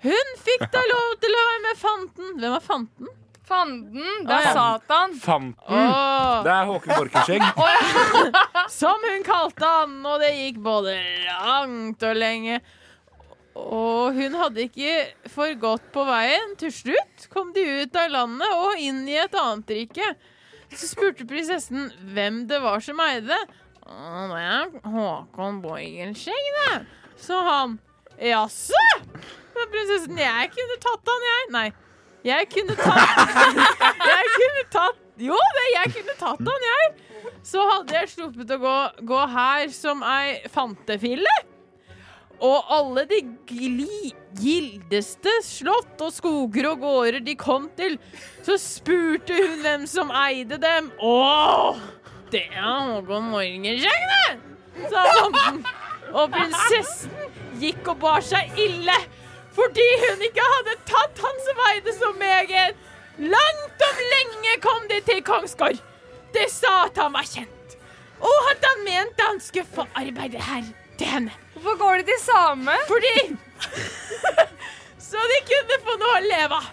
Hun fikk da lov til å være med Fanten. Hvem er Fanten? Fanden! Det Å, er ja. Satan. Fanten. Åh. Det er Håkon Borkenskjegg. Som hun kalte han, og det gikk både langt og lenge. Og hun hadde ikke for godt på veien. Til slutt kom de ut av landet og inn i et annet rike. Så spurte prinsessen hvem det var som eide. «Å, Det er Håkon Borgenskjegg, det. Så han Jaså? Men prinsessen, jeg kunne tatt han, jeg. Nei. Jeg kunne tatt [laughs] Jeg kunne tatt Jo, det, jeg kunne tatt han, jeg. Så hadde jeg sluppet å gå, gå her som ei fantefille. Og alle de gli, gildeste slott og skoger og gårder de kom til, så spurte hun hvem som eide dem. Åh, det er Håkon Morgenskjegg, det! sa fanten. Og prinsessen gikk og bar seg ille fordi hun ikke hadde tatt han som eide så meget. Langt om lenge kom de til Kongsgård. De sa at han var kjent, og at han mente han skulle få arbeide her til henne. Hvorfor går de til same? Fordi Så de kunne få noe å leve av.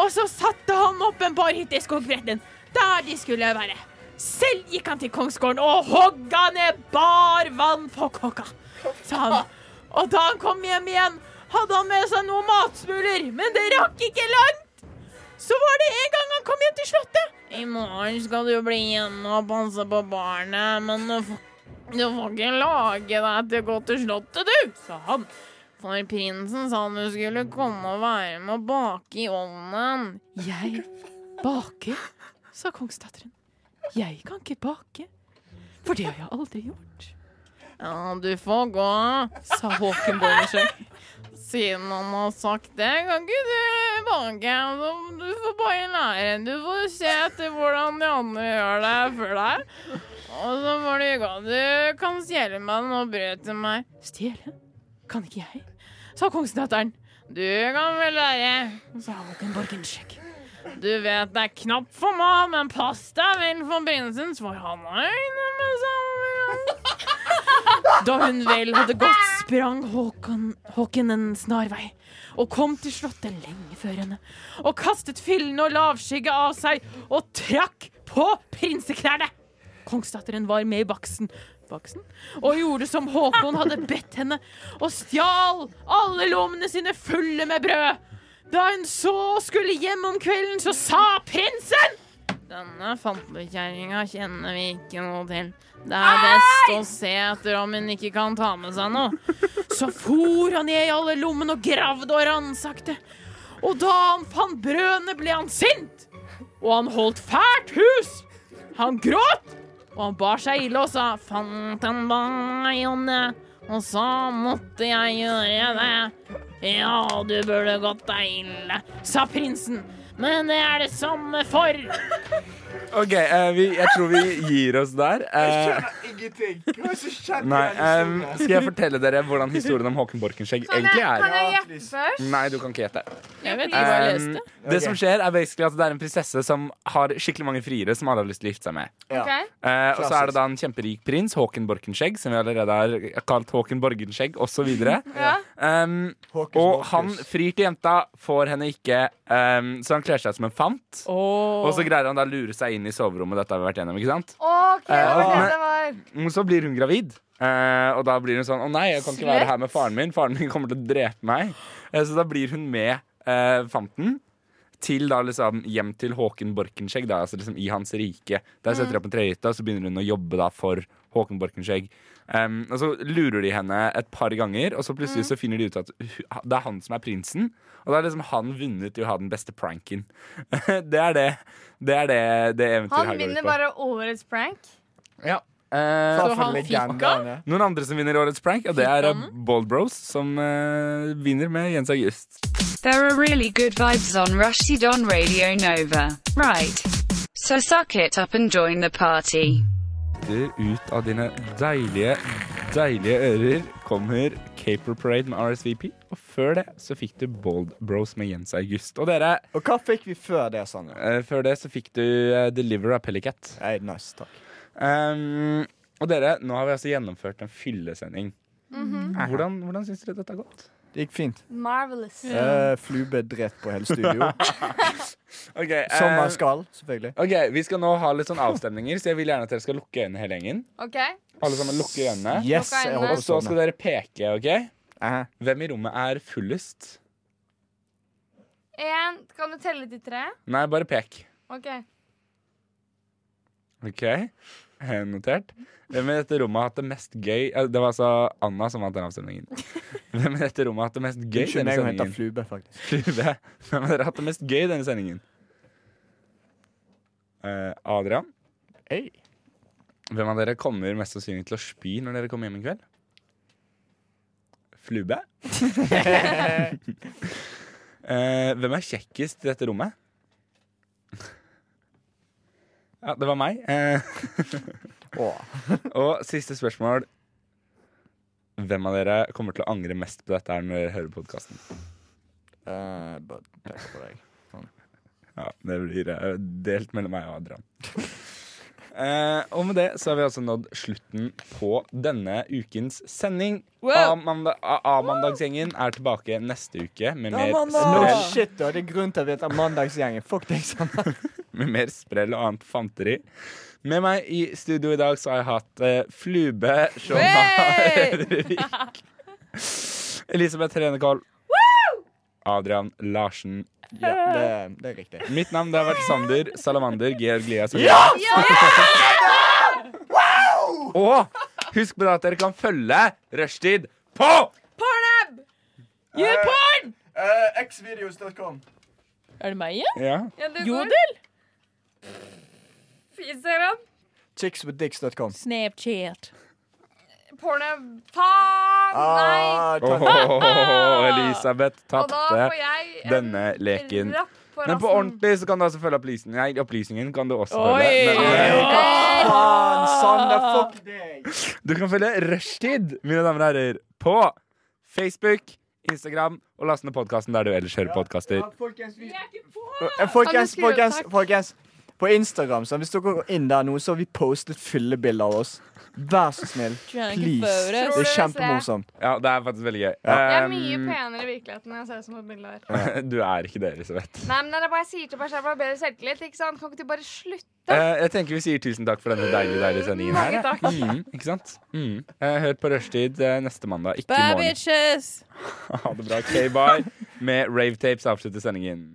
Og så satte han opp en bar hytte i skogbredden, der de skulle være. Selv gikk han til kongsgården og hogga ned barvann for kokka, sa han. Og da han kom hjem igjen, hadde han med seg noen matsmuler, men det rakk ikke langt. Så var det en gang han kom hjem til slottet. I morgen skal du bli hjemme og passe på barnet, men du får, du får ikke lage deg til å gå til slottet, du, sa han. For prinsen sa du skulle komme og være med og bake i ovnen. Jeg bake? sa kongsdatteren. Jeg kan ikke bake, for det har jeg aldri gjort. Ja, du får gå, sa Håken Bornersøk. Siden han har sagt det, kan ikke du bake. Altså, Du får bare lære. Du får se etter hvordan de andre gjør det før deg. Og så får du gå. Du kan stjele meg noe brød til meg. Stjele? Kan ikke jeg? sa kongsdatteren. Du kan vel lære, sa Håkon Borgenskjegg. Du vet det er knapt for meg, men pass deg vel for prinsen, for han har øyne med samme gang. [laughs] Da hun vel hadde gått, sprang Håkon, Håken en snarvei og kom til slottet lenge før henne og kastet fillene og lavskygge av seg og trakk på prinseklærne. Kongsdatteren var med i baksen. baksen og gjorde som Håkon hadde bedt henne, og stjal alle lommene sine fulle med brød. Da hun så skulle hjem om kvelden, så sa prinsen Denne fantekjerringa kjenner vi ikke noe til. Det er best å se etter om hun ikke kan ta med seg noe. Så for han ned i alle lommene og gravde og ransakte. Og da han fant brødene, ble han sint. Og han holdt fælt hus. Han gråt, og han bar seg ille og sa 'Fant en bajonne'. Og så måtte jeg gjøre det. Ja, du burde gått deg ille, sa prinsen. Men det er det samme for. OK, eh, vi, jeg tror vi gir oss der. Eh, Ingenting. Hva er det som skjedde? nei, em, skal jeg fortelle dere hvordan historien om Håkon Borkenskjegg egentlig er? Sånn, Kan jeg gjette først? Nei, du kan ikke gjette. Jeg vet ikke hva jeg Um, leste. det som skjer, er basically at det er en prinsesse som har skikkelig mange friere som alle har lyst til å gifte seg med. Eh, og så er det da en kjemperik prins, Håken Borkenskjegg, som vi allerede har kalt Håken Borgenskjegg osv. Ja. Um, og han frir til jenta, får henne ikke, um, så han kler seg som en fant. Og så greier han da å lure seg inn i soverommet, dette har vi vært gjennom, ikke sant? OK, det Eh, var det men- det var. Men så blir hun gravid. Eh, og da blir hun sånn Å nei, jeg kan ikke være Slett. her med faren min. Faren min kommer til å drepe meg. Eh, så da blir hun med eh, fanten til da liksom hjem til Håken Borkenskjegg, da, altså liksom i hans rike. Der setter de opp en trehytte, og så begynner hun å jobbe da for Håken Borkenskjegg. Em, og så lurer de henne et par ganger, og så plutselig Mm. så finner de ut at hu- det er han som er prinsen. Og da har liksom han vunnet i å ha den beste pranken. [laughs] det er det Det er det, det eventyret Han her går vinner ut på. bare årets prank. Ja. Eh, Hva Så for han legendene? noen andre som vinner årets prank, ja, det er eh, Bold Bros, som eh, vinner med Jens August. There are really good vibes on Rushdie on Radio Nova. Right. So suck it up and join the party. Etter ut av dine deilige, deilige ører kommer Caper Parade med RSVP. Og før det så fikk du Bold Bros med Jens August. Og dere, Og hva fikk vi før det, Sanne? eh, før det så fikk du eh, Deliver av Pellicat. Nei, nice, takk. Um, og dere, nå har vi altså gjennomført en fyllesending. Hvordan, hvordan syns dere dette har gått? Det gikk fint. Marvelous. Eh, Flube drept på hele [laughs] studio. Eh. Okay, eh, Som man skal, selvfølgelig. Ok, Vi skal nå ha litt sånn avstemninger, så jeg vil gjerne at dere skal lukke øynene hele gjengen. OK. Alle sammen lukke øynene. Yes, jeg øynene. Og håper så skal sånn. dere peke, OK? Eh, Hvem i rommet er fullest? En, kan du telle til tre? Nei, bare pek. OK. OK? Eh, Notert. Hvem i dette rommet har hatt det mest gøy eh, Det var altså Anna som vant den avstemningen. Hvem i dette rommet har hatt det mest gøy i Unnskyld denne meg å hente sendingen? flube, faktisk. Flube. [laughs] Hvem av dere har hatt det mest gøy i denne sendingen? Eh, Adrian? Hei. Hvem av dere kommer mest sannsynlig til å spy når dere kommer hjem i kveld? Flube? [laughs] Eh, hvem er kjekkest i dette rommet? Ja, det var meg. Eh, Åh. og siste spørsmål. Hvem av dere kommer til å angre mest på dette her når dere hører podkasten? Eh, bare tenk på deg. Ja, det blir eh, delt mellom meg og Adrian. [laughs] Eh, og med det så har vi altså nådd slutten på denne ukens sending. Wow. Amanda- A- A-mandagsgjengen er tilbake neste uke med mer, No sprell, shit, da. Det er grunnen til at vi heter Mandagsgjengen. Fuck deg, sånn. Sanne. med mer sprell og annet fanteri. Med meg i studio i dag så har jeg hatt eh, Flube Sjåna Elisabeth Renekol. Adrian Larsen. Ja, det, det er riktig. Mitt navn det har vært Sander Salamander Georg Lias. og- Og husk på det at dere kan følge Rushtid på Um, YouPorn! Eh, Xvideos.com. Er det meg igjen? Ja. Ja, du går. Jodel? Instagram. Chickswithdicks.com. Snapchat. Pornhub. Faen! Nei! Ah, Åh, takk. Elisabeth Og da får tapte jeg en denne leken. rapp på Men på rassen. ordentlig så kan du altså følge opplysningen. Nei, opplysningen kan du også Oi! følge. Men, eh, Faen, Sanne, fuck deg. du kan følge Rushtid, mine damer og herrer, på Facebook, Instagram og laste ned podkasten der du ellers hører podkaster. Ja, folkens, vi- Eh, Kan du Folkens, skru opp, folkens, takk? folkens. På Instagram, så hvis dere går inn der nå, så har vi postet fyllebilder av oss. Vær så snill. Drunk Please. Det photos. er kjempemorsomt. Ja, det er faktisk veldig gøy. Jeg er mye penere i virkeligheten enn jeg ser ut som på bildet her. Eh, [laughs] du er ikke det, Elisabeth. Nei, men det er bare jeg sier til meg selv jeg har bedre selvtillit, ikke sant? Kan ikke du bare slutte? Eh, jeg tenker vi sier tusen takk for denne deilige, deilige sendingen her. Mange ja. takk. Mm, ikke sant? Mm. Eh, hør på Rushtid eh, neste mandag, ikke i Bye, morgen. bitches! Ha det bra. K-bye med Ravetapes avslutter sendingen.